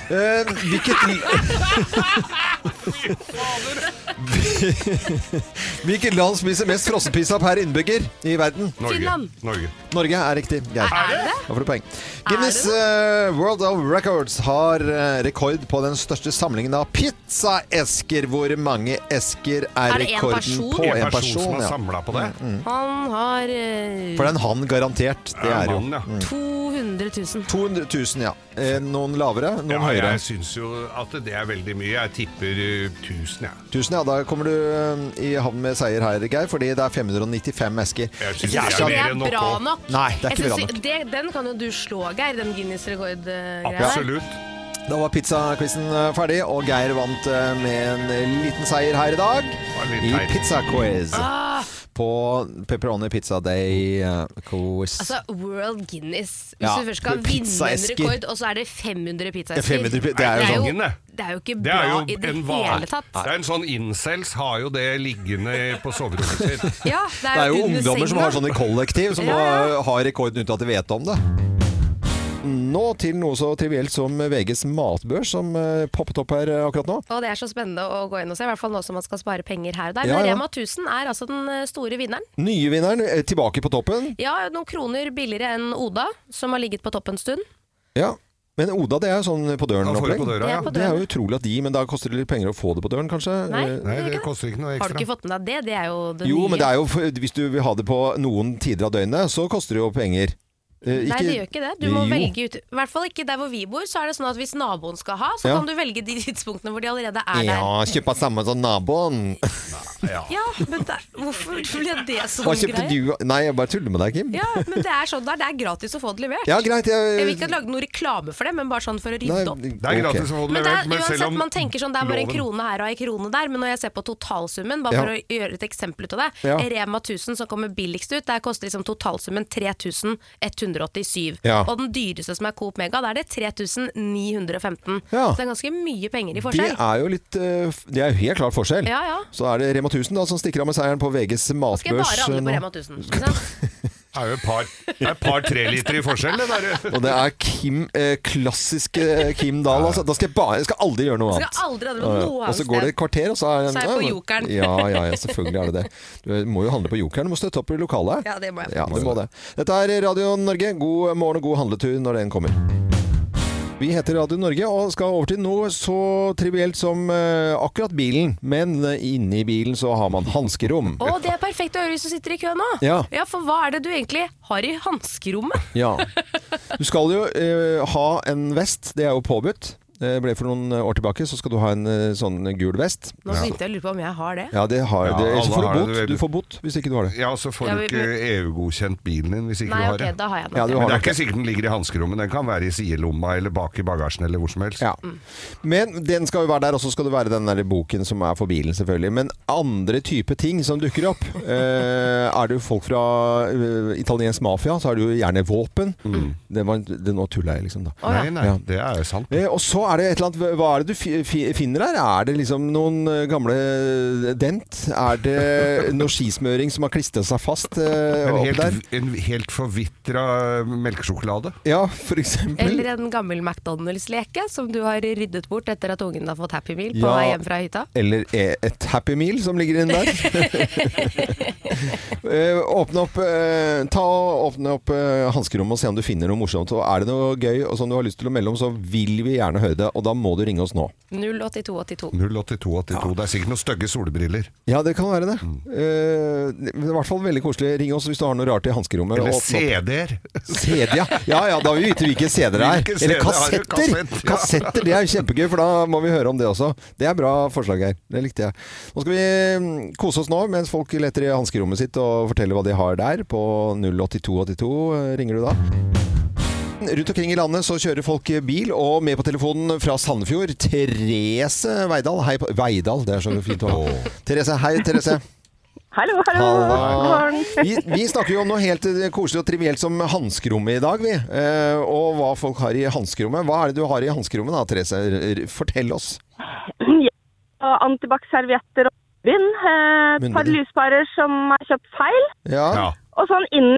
[SPEAKER 1] Eh, hvilket Hvilket land spiser mest frossenpizza per innbygger i verden?
[SPEAKER 2] Norge.
[SPEAKER 3] Finland.
[SPEAKER 2] Norge.
[SPEAKER 1] Norge er riktig. Geir.
[SPEAKER 3] Er det?
[SPEAKER 1] Da får du poeng. Guinness eh, World of Records har eh, rekord på den største samlingen av pizzaesker. Hvor mange esker er,
[SPEAKER 3] Er det en
[SPEAKER 1] rekorden
[SPEAKER 3] person?
[SPEAKER 1] på?
[SPEAKER 2] En
[SPEAKER 1] En
[SPEAKER 2] person, som
[SPEAKER 1] person,
[SPEAKER 2] har
[SPEAKER 1] ja.
[SPEAKER 2] samla på det.
[SPEAKER 3] Han har eh,
[SPEAKER 1] For den han garantert. Det er jo Mm.
[SPEAKER 2] Mannen, ja.
[SPEAKER 3] 200 000.
[SPEAKER 1] 200 000, ja. Eh, Noen lavere, noen
[SPEAKER 2] Ja,
[SPEAKER 1] høyere.
[SPEAKER 2] jeg syns jo at det er veldig mye. Jeg tipper 1000, jeg. Ja.
[SPEAKER 1] 1000, ja. Da kommer du eh, i havn med seier her, Geir, fordi det er 595 esker.
[SPEAKER 2] Jeg synes
[SPEAKER 1] Ja,
[SPEAKER 2] det er
[SPEAKER 1] så-
[SPEAKER 3] Det
[SPEAKER 2] mer
[SPEAKER 3] er
[SPEAKER 2] enn nok
[SPEAKER 3] bra
[SPEAKER 2] også.
[SPEAKER 3] nok.
[SPEAKER 1] Nei, det er
[SPEAKER 3] Jeg
[SPEAKER 1] ikke bra
[SPEAKER 3] synes
[SPEAKER 1] nok.
[SPEAKER 3] det- Den kan jo du slå, Geir, den eh, Guinness rekord-greia.
[SPEAKER 2] Absolutt.
[SPEAKER 1] Da var pizzaquizen eh, ferdig, og Geir vant eh, med en liten seier her i dag
[SPEAKER 2] var litt
[SPEAKER 1] i
[SPEAKER 2] teit.
[SPEAKER 1] pizzaquiz.
[SPEAKER 3] Ah!
[SPEAKER 1] På Pepperoni Pizza Day eh, quiz.
[SPEAKER 3] Altså, World Guinness. Hvis
[SPEAKER 1] Ja,
[SPEAKER 3] du først skal
[SPEAKER 1] med
[SPEAKER 3] vinne en
[SPEAKER 1] pizzaesker.
[SPEAKER 3] rekord, og så er det 500
[SPEAKER 1] Det er
[SPEAKER 3] pizzaesker
[SPEAKER 1] 500 pi- det
[SPEAKER 3] Det
[SPEAKER 1] er jo
[SPEAKER 3] er
[SPEAKER 1] sånn.
[SPEAKER 3] jo, det er jo ikke
[SPEAKER 2] Det
[SPEAKER 3] bra
[SPEAKER 2] er jo
[SPEAKER 3] i det
[SPEAKER 2] en vare.
[SPEAKER 3] hele tatt.
[SPEAKER 2] Det er en sånn incels har jo det liggende på soverommet sitt.
[SPEAKER 3] Ja,
[SPEAKER 1] Det er jo
[SPEAKER 3] under
[SPEAKER 1] ungdommer som
[SPEAKER 3] senga.
[SPEAKER 1] har sånne kollektiv, som
[SPEAKER 3] Ja, ja.
[SPEAKER 1] eh, har rekorden uten at de vet om det. Nå til noe så trivielt som VGs matbørs, som eh, poppet opp her eh, akkurat nå.
[SPEAKER 3] Og det er så spennende å gå inn og se, i hvert fall nå som man skal spare penger her og der.
[SPEAKER 1] Ja,
[SPEAKER 3] Men
[SPEAKER 1] ja.
[SPEAKER 3] Rema 1000 er altså den eh, store vinneren.
[SPEAKER 1] Nye vinneren eh, tilbake på toppen.
[SPEAKER 3] Ja, noen kroner billigere enn Oda, som har ligget på topp en stund.
[SPEAKER 1] Ja. Men Oda, det er sånn på døren
[SPEAKER 2] Da får du
[SPEAKER 1] opplegg.
[SPEAKER 2] på døra,
[SPEAKER 3] Det
[SPEAKER 2] ja.
[SPEAKER 3] er på
[SPEAKER 1] Det er
[SPEAKER 3] døren.
[SPEAKER 1] jo utrolig at de, men da koster det litt penger å få det på døren, kanskje?
[SPEAKER 3] Nei,
[SPEAKER 1] Eh,
[SPEAKER 2] Nei, det
[SPEAKER 3] ikke det?
[SPEAKER 2] koster ikke noe
[SPEAKER 3] Har du ikke
[SPEAKER 2] ekstra.
[SPEAKER 3] fått med deg det? Det er jo det
[SPEAKER 1] Jo,
[SPEAKER 3] nye.
[SPEAKER 1] men det er jo, for- hvis du vil ha det på noen tider av døgnet, så koster det jo penger. Eh,
[SPEAKER 3] Nei, det gjør ikke det. Du må
[SPEAKER 1] Jo.
[SPEAKER 3] velge ut I hvert fall ikke der hvor vi bor. Så er det sånn at Hvis naboen skal ha, så
[SPEAKER 1] Ja.
[SPEAKER 3] kan du velge de tidspunktene hvor de allerede er der.
[SPEAKER 1] Ja, kjøpe samme som naboen.
[SPEAKER 3] Ja, men der, Hvorfor ble det sånn
[SPEAKER 1] Hva kjøpte
[SPEAKER 3] greie?
[SPEAKER 1] du? Nei, jeg bare tuller med deg, Kim.
[SPEAKER 3] Ja, men Det er sånn der, det er gratis å få det levert.
[SPEAKER 1] Ja, greit. Jeg,
[SPEAKER 3] Jeg vil ikke lage noe reklame for det, men bare sånn for å rydde opp.
[SPEAKER 2] Det er gratis å få det
[SPEAKER 3] Men det er,
[SPEAKER 2] levert, men selv
[SPEAKER 3] uansett,
[SPEAKER 2] om
[SPEAKER 3] man tenker sånn, det er bare en
[SPEAKER 2] loven-
[SPEAKER 3] krone her og en krone der, men når jeg ser på totalsummen, bare
[SPEAKER 1] Ja.
[SPEAKER 3] for å gjøre et eksempel ut av det,
[SPEAKER 1] Ja.
[SPEAKER 3] Rema 1000 som kommer billigst ut, der koster liksom totalsummen 3187.
[SPEAKER 1] Ja.
[SPEAKER 3] Og den dyreste som er Coop Mega, der er det 3915.
[SPEAKER 1] Ja.
[SPEAKER 3] Så det er ganske mye penger i
[SPEAKER 1] Det
[SPEAKER 3] forskjell.
[SPEAKER 1] er jo litt eh, f- Det er jo helt klart forskjell.
[SPEAKER 3] Ja, ja.
[SPEAKER 1] Så er det Rema 1000 da, som stikker av med seieren på VGs
[SPEAKER 3] Skal jeg
[SPEAKER 1] matbørs. eh,
[SPEAKER 3] bare handle
[SPEAKER 1] nå.
[SPEAKER 3] på Rema 1000? Ikke sant?
[SPEAKER 2] er jo et par, det er et par treliter i forskjell. Det der.
[SPEAKER 1] Og det er Kim, eh, klassiske Kim Dahl. Altså. Da skal jeg, bare, jeg skal aldri gjøre noe
[SPEAKER 3] Skal
[SPEAKER 1] annet.
[SPEAKER 3] aldri handle på
[SPEAKER 1] Ja, ja.
[SPEAKER 3] noe
[SPEAKER 1] Og så
[SPEAKER 3] annet
[SPEAKER 1] går det
[SPEAKER 3] sted.
[SPEAKER 1] et kvarter, og så er,
[SPEAKER 3] Så er jeg på Jokeren.
[SPEAKER 1] Ja, ja, ja, selvfølgelig er det det. Du eh, må jo handle på Jokeren, du må støtte opp i lokalet.
[SPEAKER 3] Ja, det må jeg.
[SPEAKER 1] Ja, du må det. Dette er Radio Norge. God morgen og god handletur når den kommer. Vi heter Radio Norge og skal over til noe så trivielt som eh, akkurat bilen. Men eh, inni bilen så har man hanskerom.
[SPEAKER 3] Å, det er perfekt å høre hvis du sitter i kø nå.
[SPEAKER 1] Ja.
[SPEAKER 3] for hva er det du egentlig har i hanskerommet?
[SPEAKER 1] Ja. Du skal jo eh, ha en vest, det er jo påbudt. Det ble for noen eh, år tilbake, så skal du ha en eh, sånn gul vest.
[SPEAKER 3] Nå begynte jeg å lure på om jeg har det.
[SPEAKER 1] Ja, det har
[SPEAKER 2] Ja,
[SPEAKER 1] det, ellers
[SPEAKER 2] alle
[SPEAKER 1] får
[SPEAKER 2] har
[SPEAKER 1] du
[SPEAKER 2] det,
[SPEAKER 1] bot.
[SPEAKER 2] det vet
[SPEAKER 1] Du
[SPEAKER 2] du.
[SPEAKER 1] får bot hvis ikke du har det.
[SPEAKER 2] Ja, og så får
[SPEAKER 3] Ja,
[SPEAKER 2] du
[SPEAKER 3] vi-
[SPEAKER 2] ikke EU-godkjent bilen din hvis ikke
[SPEAKER 3] Nei,
[SPEAKER 2] du har
[SPEAKER 3] ok,
[SPEAKER 2] det.
[SPEAKER 3] da har jeg nok
[SPEAKER 1] Ja, du
[SPEAKER 3] det.
[SPEAKER 2] Men
[SPEAKER 1] har
[SPEAKER 2] det er
[SPEAKER 1] nok
[SPEAKER 2] ikke sikkert den ligger i hanskerommet. Den kan være i sidelomma eller bak i bagasjen eller hvor som helst.
[SPEAKER 1] Ja. Men den skal jo være der, og så skal det være den der boken som er for bilen, selvfølgelig. Men andre type ting som dukker opp eh, Er det jo folk fra eh, italiensk mafia, så er det jo gjerne våpen.
[SPEAKER 2] Mm.
[SPEAKER 1] Det var, det, nå tuller jeg, liksom, da.
[SPEAKER 3] Å, ja.
[SPEAKER 2] Nei, nei,
[SPEAKER 1] Ja.
[SPEAKER 2] det er jo sant.
[SPEAKER 1] Eh, Og så er det et eller annet Hva er det du fi, fi, finner her? Er det liksom noen eh, gamle eh, dent? Er det noe skismøring som har klistra seg fast eh,
[SPEAKER 2] En
[SPEAKER 1] opp der?
[SPEAKER 2] helt, en helt forvitra melkesjokolade.
[SPEAKER 1] Ja, for eksempel.
[SPEAKER 3] Eller en gammel McDonald's-leke som du har ryddet bort etter at ungen har fått Happy Meal på
[SPEAKER 1] Ja.
[SPEAKER 3] vei hjem fra hytta.
[SPEAKER 1] Eller e- et Happy Meal som ligger inne der. Eh, åpne opp, eh, ta og åpne opp eh, hanskerommet og se om du finner noe morsomt. Og er det noe gøy og som du har lyst til å melde om, så vil vi gjerne høre det. Og da må du ringe oss nå.
[SPEAKER 3] 08282.
[SPEAKER 2] 08282. Det er sikkert noen stygge solbriller.
[SPEAKER 1] Ja, det kan være det. Eh, det er I hvert fall veldig koselig. Ring oss hvis du har noe rart i hanskerommet.
[SPEAKER 2] Eller
[SPEAKER 1] og åpne opp.
[SPEAKER 2] CD-er.
[SPEAKER 1] CD, ja. ja ja, da vil vi vite hvilke CD-er det
[SPEAKER 2] Hvilke
[SPEAKER 1] er.
[SPEAKER 2] CD-er
[SPEAKER 1] Eller
[SPEAKER 2] har du?
[SPEAKER 1] kassetter!
[SPEAKER 2] Kassett, ja.
[SPEAKER 1] Kassetter, Det er jo kjempegøy, for da må vi høre om det også. Det er bra forslag her. Det likte jeg. Nå skal vi mm, kose oss nå mens folk leter i hanskerommet sitt og forteller hva de har der. På 08282 eh, ringer du da. Rundt omkring i landet så kjører folk bil, og med på telefonen fra Sandefjord, Therese Veidal. Hei på Veidal, det er så fint å ha. Therese, hei Therese.
[SPEAKER 9] Hallo, hallo. God
[SPEAKER 1] Halla.
[SPEAKER 9] morgen.
[SPEAKER 1] Vi, vi snakker jo om noe helt eh, koselig og trivielt som hanskerommet i dag, vi. Eh, og hva folk har i hanskerommet. Hva er det du har i hanskerommet da, Therese? R- r- Fortell oss.
[SPEAKER 9] Og Antibac-servietter og bind. eh, Et par
[SPEAKER 1] Munnbind.
[SPEAKER 9] lyspærer som er kjøpt feil.
[SPEAKER 1] Ja.
[SPEAKER 2] Ja.
[SPEAKER 9] Og sånn inn i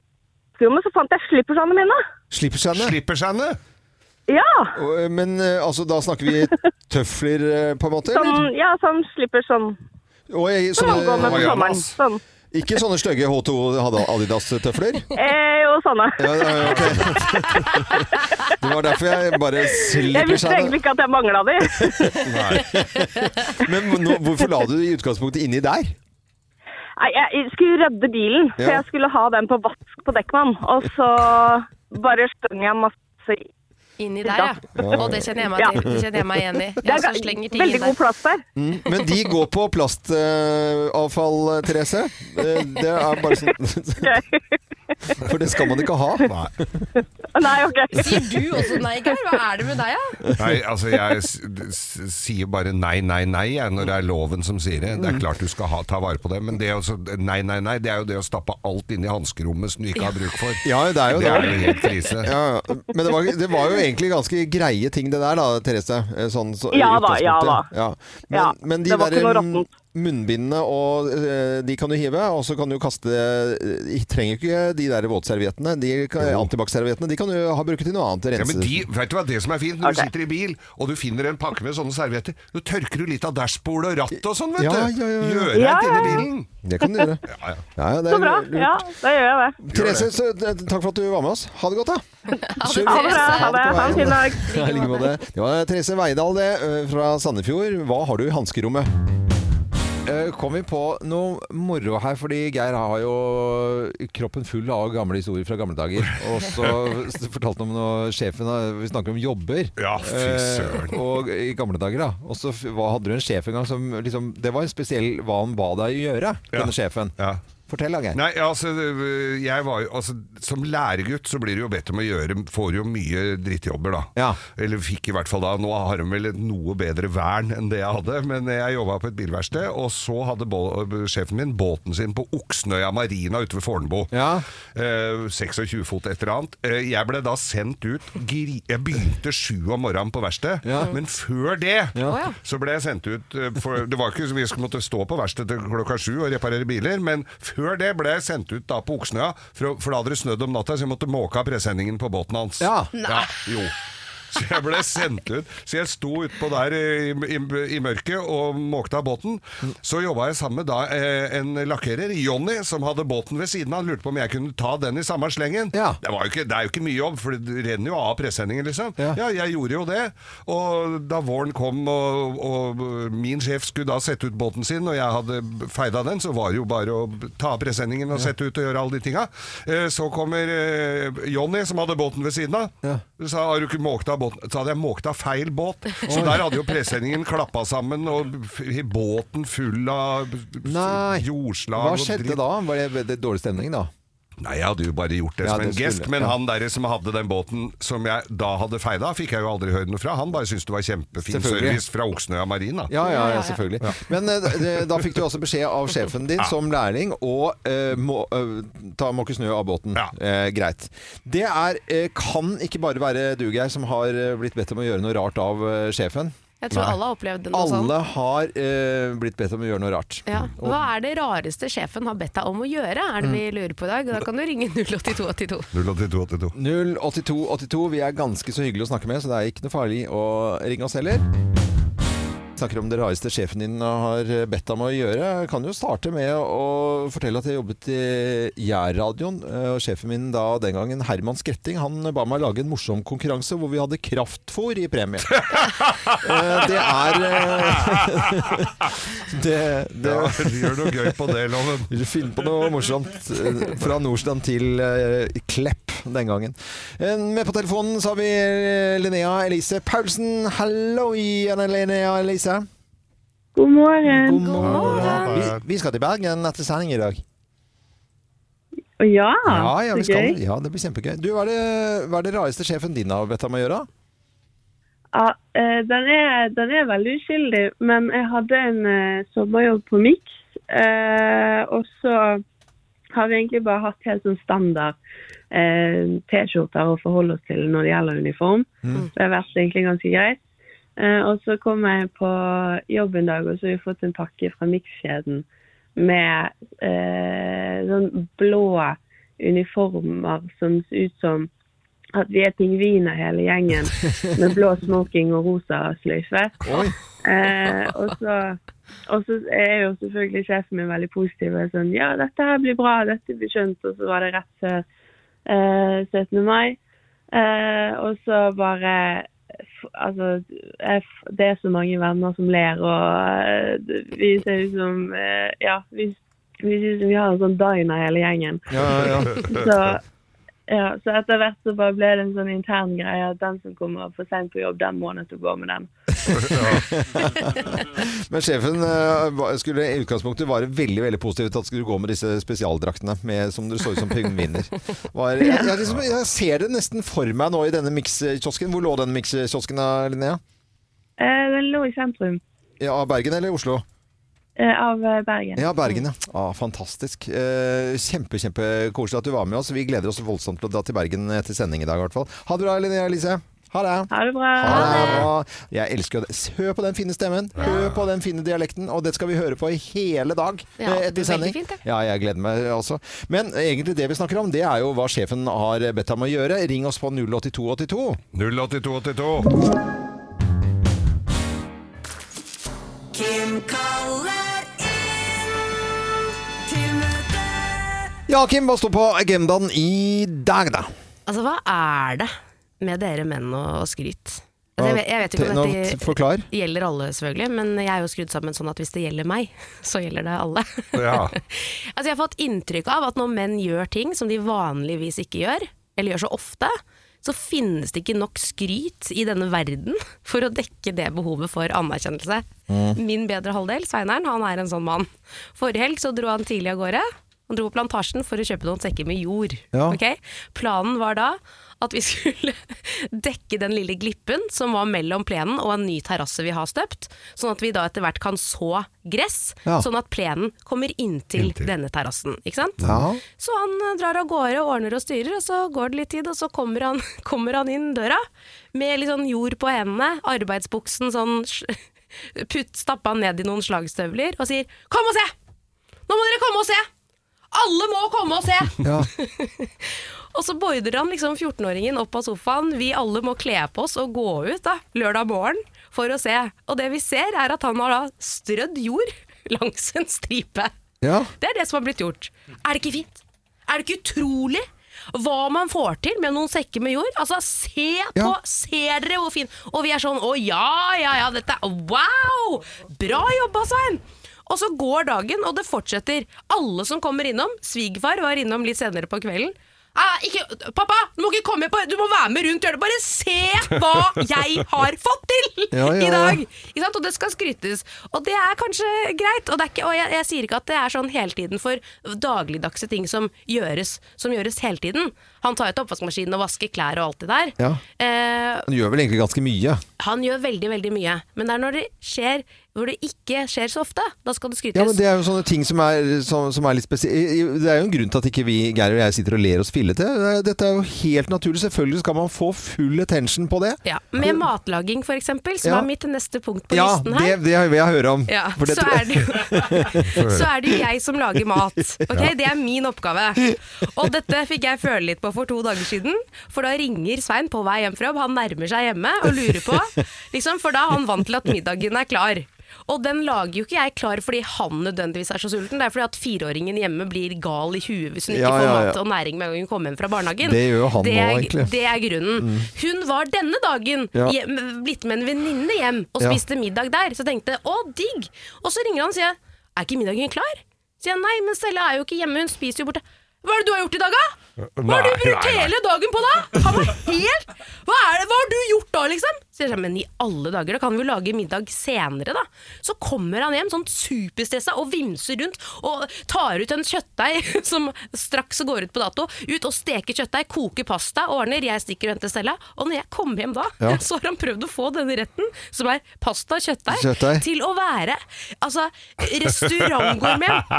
[SPEAKER 9] skrommet så fant jeg slippersene mine.
[SPEAKER 1] Slipper seg ned.
[SPEAKER 2] Slipper seg ned.
[SPEAKER 9] Ja,
[SPEAKER 1] Og, eh, Men eh, altså, da snakker vi tøfler, eh, på en måte? Eller?
[SPEAKER 9] sånn, ja, sånn slipper sånn.
[SPEAKER 1] Og, eh,
[SPEAKER 9] Som man går
[SPEAKER 1] sånne,
[SPEAKER 9] med på
[SPEAKER 2] Å, ja,
[SPEAKER 9] sommeren.
[SPEAKER 2] ass.
[SPEAKER 9] Sånn.
[SPEAKER 1] ikke sånne stygge H2 hadde Adidas-tøfler?
[SPEAKER 9] Eh, og sånne.
[SPEAKER 1] Ja, ja, ok. Det var derfor jeg bare
[SPEAKER 9] Jeg
[SPEAKER 1] slipper
[SPEAKER 9] visste
[SPEAKER 1] seg
[SPEAKER 9] egentlig
[SPEAKER 1] ned.
[SPEAKER 9] ikke at jeg mangla de.
[SPEAKER 1] Men nå, hvorfor la du det i utgangspunktet inni der?
[SPEAKER 9] Nei, jeg skulle redde bilen, for
[SPEAKER 1] Ja.
[SPEAKER 9] jeg skulle ha den på vask på Dekkmann. Og så bare støng jeg masse i.
[SPEAKER 3] Inni der, ja. Og det kjenner jeg meg
[SPEAKER 9] Ja.
[SPEAKER 3] til. Det kjenner jeg meg igjen i.
[SPEAKER 9] Det
[SPEAKER 3] Jeg
[SPEAKER 9] er
[SPEAKER 3] også
[SPEAKER 9] ga-
[SPEAKER 3] slenger ting
[SPEAKER 9] veldig
[SPEAKER 3] inn
[SPEAKER 9] god
[SPEAKER 3] der.
[SPEAKER 9] plass der.
[SPEAKER 1] Mm, Men de går på plastavfall, Therese. Eh, Det er bare sånn For det skal man ikke ha.
[SPEAKER 2] Nei.
[SPEAKER 9] Nei, ok.
[SPEAKER 3] Sier du også nei, Geir? Hva er det med deg, da?
[SPEAKER 2] nei, altså jeg s s sier bare nei, nei, nei jeg, når det er loven som sier det.
[SPEAKER 1] Mm.
[SPEAKER 2] Det er klart du skal ha, ta vare på det, men det å så- nei, nei, nei, det er jo det å stappe alt inn i hanskerommet som du ikke har bruk for.
[SPEAKER 1] Ja, det er jo
[SPEAKER 2] Det er
[SPEAKER 1] det.
[SPEAKER 2] jo helt krise.
[SPEAKER 1] Ja, ja. Men det var, det var jo egentlig ganske greie ting det der da, Therese. Eh, Sånn, så, i
[SPEAKER 9] Ja da,
[SPEAKER 1] utgangspunktet.
[SPEAKER 9] ja da.
[SPEAKER 1] Ja. Men,
[SPEAKER 9] Ja,
[SPEAKER 1] men de
[SPEAKER 9] det var
[SPEAKER 1] der
[SPEAKER 9] ikke noe
[SPEAKER 1] mm,
[SPEAKER 9] råttent.
[SPEAKER 1] munnbindene, og, eh, de kan du hive, og så kan du kaste eh, Trenger jo ikke de der våtserviettene. De kan- Antibac-serviettene de kan du ha bruke til noe annet.
[SPEAKER 2] Ja, men
[SPEAKER 1] Rense.
[SPEAKER 2] de, vet du hva det som er fint? Når
[SPEAKER 9] Ok.
[SPEAKER 2] du sitter i bil og du finner en pakke med sånne servietter, så tørker du litt av dashbordet og rattet og sånn, vet
[SPEAKER 1] Ja,
[SPEAKER 2] du.
[SPEAKER 1] ja, ja, ja.
[SPEAKER 2] Gjør
[SPEAKER 9] Ja,
[SPEAKER 2] rent
[SPEAKER 9] ja,
[SPEAKER 2] inni
[SPEAKER 9] ja.
[SPEAKER 2] bilen.
[SPEAKER 1] Det kan du gjøre.
[SPEAKER 2] Ja, ja.
[SPEAKER 1] Ja, ja, det er
[SPEAKER 9] Så bra.
[SPEAKER 1] lurt.
[SPEAKER 9] Ja, da gjør jeg det.
[SPEAKER 1] Therese, så, eh, takk for at du var med oss. Ha det godt, da. Kjør
[SPEAKER 9] Ha det
[SPEAKER 1] videre.
[SPEAKER 9] bra. Ha det. Ha en fin dag.
[SPEAKER 1] Ja, i like eh, måte. Det var Therese Veidal det, ø, fra Sandefjord. Hva har du i hanskerommet? Eh, Kom vi på noe moro her, fordi Geir har jo kroppen full av gamle historier fra gamle dager. Og så s- fortalte han om noe sjefen har- Vi snakker om jobber.
[SPEAKER 2] Ja, fy søren.
[SPEAKER 1] Eh, Og i gamle dager, da. Og så f- hva- hadde du en sjef en gang som liksom Det var en spesiell hva han ba deg gjøre,
[SPEAKER 2] Ja.
[SPEAKER 1] denne sjefen.
[SPEAKER 2] Ja.
[SPEAKER 1] Fortell, da, Geir.
[SPEAKER 2] Nei, altså, øh, jeg var jo, altså Som læregutt så blir du jo bedt om å gjøre Får jo mye drittjobber, da.
[SPEAKER 1] Ja.
[SPEAKER 2] Eller fikk i hvert fall da. Nå har de vel et noe bedre vern enn det jeg hadde, men jeg jobba på et bilverksted, og så hadde bå- sjefen min båten sin på Oksnøya marina ute ved Fornebu.
[SPEAKER 1] Ja.
[SPEAKER 2] Eh, 26 fot et eller annet. Eh, jeg ble da sendt ut gri Jeg begynte sju om morgenen på verkstedet,
[SPEAKER 1] Ja.
[SPEAKER 2] men før det
[SPEAKER 1] Ja. Å, ja.
[SPEAKER 2] så ble jeg sendt ut eh, for, Det var ikke så vi skulle måtte stå på verkstedet til klokka sju og reparere biler, men før det ble jeg sendt ut da på Oksnøya, for, å- for da hadde det snødd om natta, så jeg måtte måke av presenningen på båten hans.
[SPEAKER 1] Ja.
[SPEAKER 2] ja jo. Så jeg ble sendt ut. Så jeg sto utpå der i, i, i mørket og måkte av båten. Så jobba jeg sammen med da, eh, en lakkerer, Jonny, som hadde båten ved siden av. Han lurte på om jeg kunne ta den i samme slengen.
[SPEAKER 1] Ja.
[SPEAKER 2] Det, var jo ikke, det er jo ikke mye jobb, for det renner jo av presenningen, liksom.
[SPEAKER 1] Ja.
[SPEAKER 2] Ja, jeg gjorde jo det. Og da våren kom, og, og min sjef skulle da sette ut båten sin, og jeg hadde feida den, så var det jo bare å ta av presenningen og sette ut og gjøre alle de tinga. Eh, Så kommer eh, Jonny, som hadde båten ved siden av.
[SPEAKER 1] Ja.
[SPEAKER 2] Sa, har du ikke måkt av båten? Så hadde jeg måkt av feil båt. Så der hadde jo presenningen klappa sammen, og f- båten full av
[SPEAKER 1] Nei.
[SPEAKER 2] jordslag
[SPEAKER 1] Hva
[SPEAKER 2] og
[SPEAKER 1] skjedde
[SPEAKER 2] dritt.
[SPEAKER 1] da? Var det, det dårlig stemning da?
[SPEAKER 2] Nei, jeg hadde jo bare gjort det
[SPEAKER 1] Ja,
[SPEAKER 2] som
[SPEAKER 1] det
[SPEAKER 2] en gest,
[SPEAKER 1] skulle-
[SPEAKER 2] men
[SPEAKER 1] ja.
[SPEAKER 2] han der som hadde den båten som jeg da hadde feida, fikk jeg jo aldri høre noe fra. Han bare syntes det var kjempefin
[SPEAKER 1] Selvfølgelig.
[SPEAKER 2] service fra Oksnøya Marina.
[SPEAKER 1] Ja, ja, ja, selvfølgelig. Men eh, det, da fikk du også beskjed av sjefen din som lærling å eh, må, eh, ta måke snø av båten.
[SPEAKER 2] Ja.
[SPEAKER 1] Eh, greit. Det er, eh, kan ikke bare være du, Geir, som har eh, blitt bedt om å gjøre noe rart av eh, sjefen.
[SPEAKER 3] Jeg tror alle har opplevd noe sånt.
[SPEAKER 1] Alle har eh, blitt bedt om å gjøre noe rart.
[SPEAKER 3] Ja. Hva er det rareste sjefen har bedt deg om å gjøre, er det vi lurer på i dag? Da kan du ringe 08282.
[SPEAKER 2] 08282.
[SPEAKER 1] 08282. Vi er ganske så hyggelige å snakke med, så det er ikke noe farlig å ringe oss heller. snakker om det rareste sjefen din har bedt deg om å gjøre. Jeg kan jo starte med å fortelle at jeg jobbet i Gjærradioen. eh, Og sjefen min da den gangen, Herman Skretting, han ba meg lage en morsom konkurranse hvor vi hadde kraftfôr i premie. Eh, det er eh, det, det,
[SPEAKER 2] Ja, du gjør noe gøy på det, Loven.
[SPEAKER 1] vil du finne på noe morsomt eh, fra Nordstrand til eh, Klepp den gangen? Eh, Med på telefonen så har vi eh, Linnea Elise Paulsen. Hallo igjen, Linnea Elise.
[SPEAKER 9] God morgen.
[SPEAKER 1] Vi, vi skal til Bergen etter sending i dag.
[SPEAKER 9] Å ja,
[SPEAKER 1] Ja, ja, vi
[SPEAKER 9] så
[SPEAKER 1] skal.
[SPEAKER 9] gøy.
[SPEAKER 1] ja det blir kjempegøy. Du, hva er det, hva er det rareste sjefen din har bedt deg om å gjøre?
[SPEAKER 9] Ja, eh, den, er, den er veldig uskyldig, men jeg hadde en eh, sommerjobb på Mix. Eh, og så har vi egentlig bare hatt helt sånn standard eh, T-skjorter å forholde oss til når det gjelder uniform. Det har vært egentlig ganske greit. Eh, og så kom jeg på jobb en dag, og så har vi fått en pakke fra Mix-kjeden med eh, sånn blå uniformer som ser ut som at vi er pingviner hele gjengen med blå smoking og rosa sløyfe.
[SPEAKER 1] Oi,
[SPEAKER 9] Eh, og, så, og så er jo selvfølgelig sjefen min veldig positiv og er sånn Ja, dette her blir bra, dette blir skjønt. Og så var det rett før eh, 17. mai. Eh, og så bare f- Altså, jeg, f- det er så mange venner som ler, og eh, vi ser ut som eh, Ja, vi, vi ser ut som vi har en sånn diner hele gjengen.
[SPEAKER 1] ja, ja.
[SPEAKER 9] Så, ja, så etter hvert så bare ble det en sånn intern greie at den som kommer for sent på jobb, den må nødt til å gå med den.
[SPEAKER 1] Men sjefen eh, var- skulle i utgangspunktet være veldig veldig positiv til at skulle gå med disse spesialdraktene med, som du så ut som pingviner. Var, jeg, jeg, liksom, jeg ser det nesten for meg nå i denne mikskiosken. Hvor lå den mikskiosken, Linnea?
[SPEAKER 9] Eh, den lå i sentrum
[SPEAKER 1] Ja, av Bergen eller Oslo?
[SPEAKER 9] eh, av eh, Bergen.
[SPEAKER 1] Ja, Bergen, ja. Ah, fantastisk. Eh, kjempe, Kjempekoselig at du var med oss. Vi gleder oss voldsomt til å dra til Bergen etter sending i dag, i hvert fall. Ha det bra, Linnea Elise. Ha det.
[SPEAKER 9] Ha det
[SPEAKER 3] Eh,
[SPEAKER 9] bra!
[SPEAKER 1] Ah, Jeg elsker jo det. Hør på den fine stemmen, hør på den fine dialekten, og det skal vi høre på i hele dag
[SPEAKER 3] Ja,
[SPEAKER 1] eh,
[SPEAKER 3] det blir
[SPEAKER 1] etter sending.
[SPEAKER 3] veldig fint, det.
[SPEAKER 1] Ja, jeg gleder meg også. Men egentlig det vi snakker om, det er jo hva sjefen har bedt deg om å gjøre. Ring oss på 08282.
[SPEAKER 2] 08282.
[SPEAKER 5] Kim kaller inn til møte.
[SPEAKER 1] Ja, Kim, hva står på agendaen i dag, da?
[SPEAKER 3] Altså, hva er det med dere menn og og skryt? Altså, jeg, vet- jeg vet ikke om
[SPEAKER 1] Nå,
[SPEAKER 3] dette
[SPEAKER 1] t- Forklar.
[SPEAKER 3] gjelder alle, selvfølgelig, men jeg er jo skrudd sammen sånn at hvis det gjelder meg, så gjelder det alle.
[SPEAKER 2] Ja.
[SPEAKER 3] altså, jeg har fått inntrykk av at når menn gjør ting som de vanligvis ikke gjør, eller gjør så ofte, så finnes det ikke nok skryt i denne verden for å dekke det behovet for anerkjennelse.
[SPEAKER 1] Mm.
[SPEAKER 3] Min bedre halvdel, Sveineren, han er en sånn mann. Forrige helg så dro han tidlig av gårde. Han dro på plantasjen for å kjøpe noen sekker med jord.
[SPEAKER 1] Ja.
[SPEAKER 3] ok? Planen var da at vi skulle dekke den lille glippen som var mellom plenen og en ny terrasse vi har støpt, sånn at vi da etter hvert kan så gress,
[SPEAKER 1] Ja.
[SPEAKER 3] sånn at plenen kommer inntil,
[SPEAKER 2] Inntil.
[SPEAKER 3] denne terrassen. ikke sant?
[SPEAKER 1] Ja.
[SPEAKER 3] Så han eh, drar av gårde, ordner og styrer, og så går det litt tid, og så kommer han, kommer han inn døra med litt sånn jord på hendene, arbeidsbuksen sånn sj- putt, stappa ned i noen slagstøvler, og sier 'kom og se! Nå må dere komme og se! Alle må komme og se!'
[SPEAKER 1] Ja.
[SPEAKER 3] Og så border han liksom 14-åringen opp av sofaen. Vi alle må kle på oss og gå ut da, lørdag morgen for å se. Og det vi ser, er at han har da strødd jord langs en stripe.
[SPEAKER 1] ja.
[SPEAKER 3] Det er det som har blitt gjort. Er det ikke fint? Er det ikke utrolig? Hva man får til med noen sekker med jord. Altså, se på!
[SPEAKER 1] Ja.
[SPEAKER 3] Ser dere hvor fin Og vi er sånn Å ja, ja, ja, dette er Wow! Bra jobba, Svein! Og så går dagen, og det fortsetter. Alle som kommer innom Svigerfar var innom litt senere på kvelden. «Ah, ikke, 'Pappa, du må ikke komme på Du må være med rundt hjørnet! Bare se hva jeg har fått til
[SPEAKER 1] Ja, ja,
[SPEAKER 3] i
[SPEAKER 1] ja.
[SPEAKER 3] dag!' Ikke sant? Og det skal skrytes. Og det er kanskje greit. Og, det er ikke, og jeg, jeg sier ikke at det er sånn hele tiden for dagligdagse ting som gjøres, som gjøres hele tiden. Han tar ut oppvaskmaskinen og vasker klær og alt det der.
[SPEAKER 1] Ja.
[SPEAKER 3] Eh,
[SPEAKER 1] Han gjør vel egentlig ganske mye.
[SPEAKER 3] han gjør veldig, veldig mye. Men det er når det skjer hvor det ikke skjer så ofte, da skal det skrytes.
[SPEAKER 1] Ja, men Det er jo sånne ting som er, som, som er litt spesielle Det er jo en grunn til at ikke vi Geir og jeg sitter og ler oss fillete. Det er- Dette er jo helt naturlig. Selvfølgelig skal man få full attention på det.
[SPEAKER 3] Ja, Med matlaging, for eksempel, som
[SPEAKER 1] Ja.
[SPEAKER 3] er mitt neste punkt på
[SPEAKER 1] Ja,
[SPEAKER 3] listen her.
[SPEAKER 1] det, det vil jeg høre om.
[SPEAKER 3] Ja,
[SPEAKER 1] liksom. For det
[SPEAKER 3] så,
[SPEAKER 1] tror jeg-
[SPEAKER 3] er det, jo- så er det jo jeg som lager mat. Ok, Det er min oppgave. Og dette fikk jeg føle litt på for to dager siden. For da ringer Svein på vei hjem fra jobb, han nærmer seg hjemme og lurer på. Liksom, for da er han vant til at middagen er klar. Og den lager jo ikke jeg klar fordi han nødvendigvis er så sulten. Det er fordi at fireåringen hjemme blir gal i huet hvis hun ikke
[SPEAKER 1] Ja,
[SPEAKER 3] får
[SPEAKER 1] ja, ja.
[SPEAKER 3] mat og næring med en gang hun kommer hjem fra barnehagen.
[SPEAKER 1] Det gjør jo han
[SPEAKER 3] Det er-
[SPEAKER 1] nå, egentlig. Mm.
[SPEAKER 3] Det er grunnen. Hun var denne dagen
[SPEAKER 1] Ja.
[SPEAKER 3] hjem, blitt med en venninne hjem og
[SPEAKER 1] Ja.
[SPEAKER 3] spiste middag der. Så tenkte jeg, å digg! Og så ringer han og sier er ikke middagen klar? Sier jeg nei, men Stella er jo ikke hjemme, hun spiser jo borte. Hva er det du har gjort i dag, da? Hva har du
[SPEAKER 2] Nei,
[SPEAKER 3] brukt
[SPEAKER 2] nei, nei.
[SPEAKER 3] hele dagen på da? Han var helt Hva, er det, hva har du gjort da, liksom? Så jeg sa, men i alle dager, da kan vi jo lage middag senere, da. Så kommer han hjem sånn superstressa og vimser rundt og tar ut en kjøttdeig som straks går ut på dato. Ut og steker kjøttdeig, koker pasta, ordner. Jeg stikker og henter Stella. Og når jeg kommer hjem da,
[SPEAKER 1] Ja.
[SPEAKER 3] så har han prøvd å få denne retten, som er pasta og kjøttdeig,
[SPEAKER 1] Kjøttdeig.
[SPEAKER 3] til å være altså, restaurantgourmet.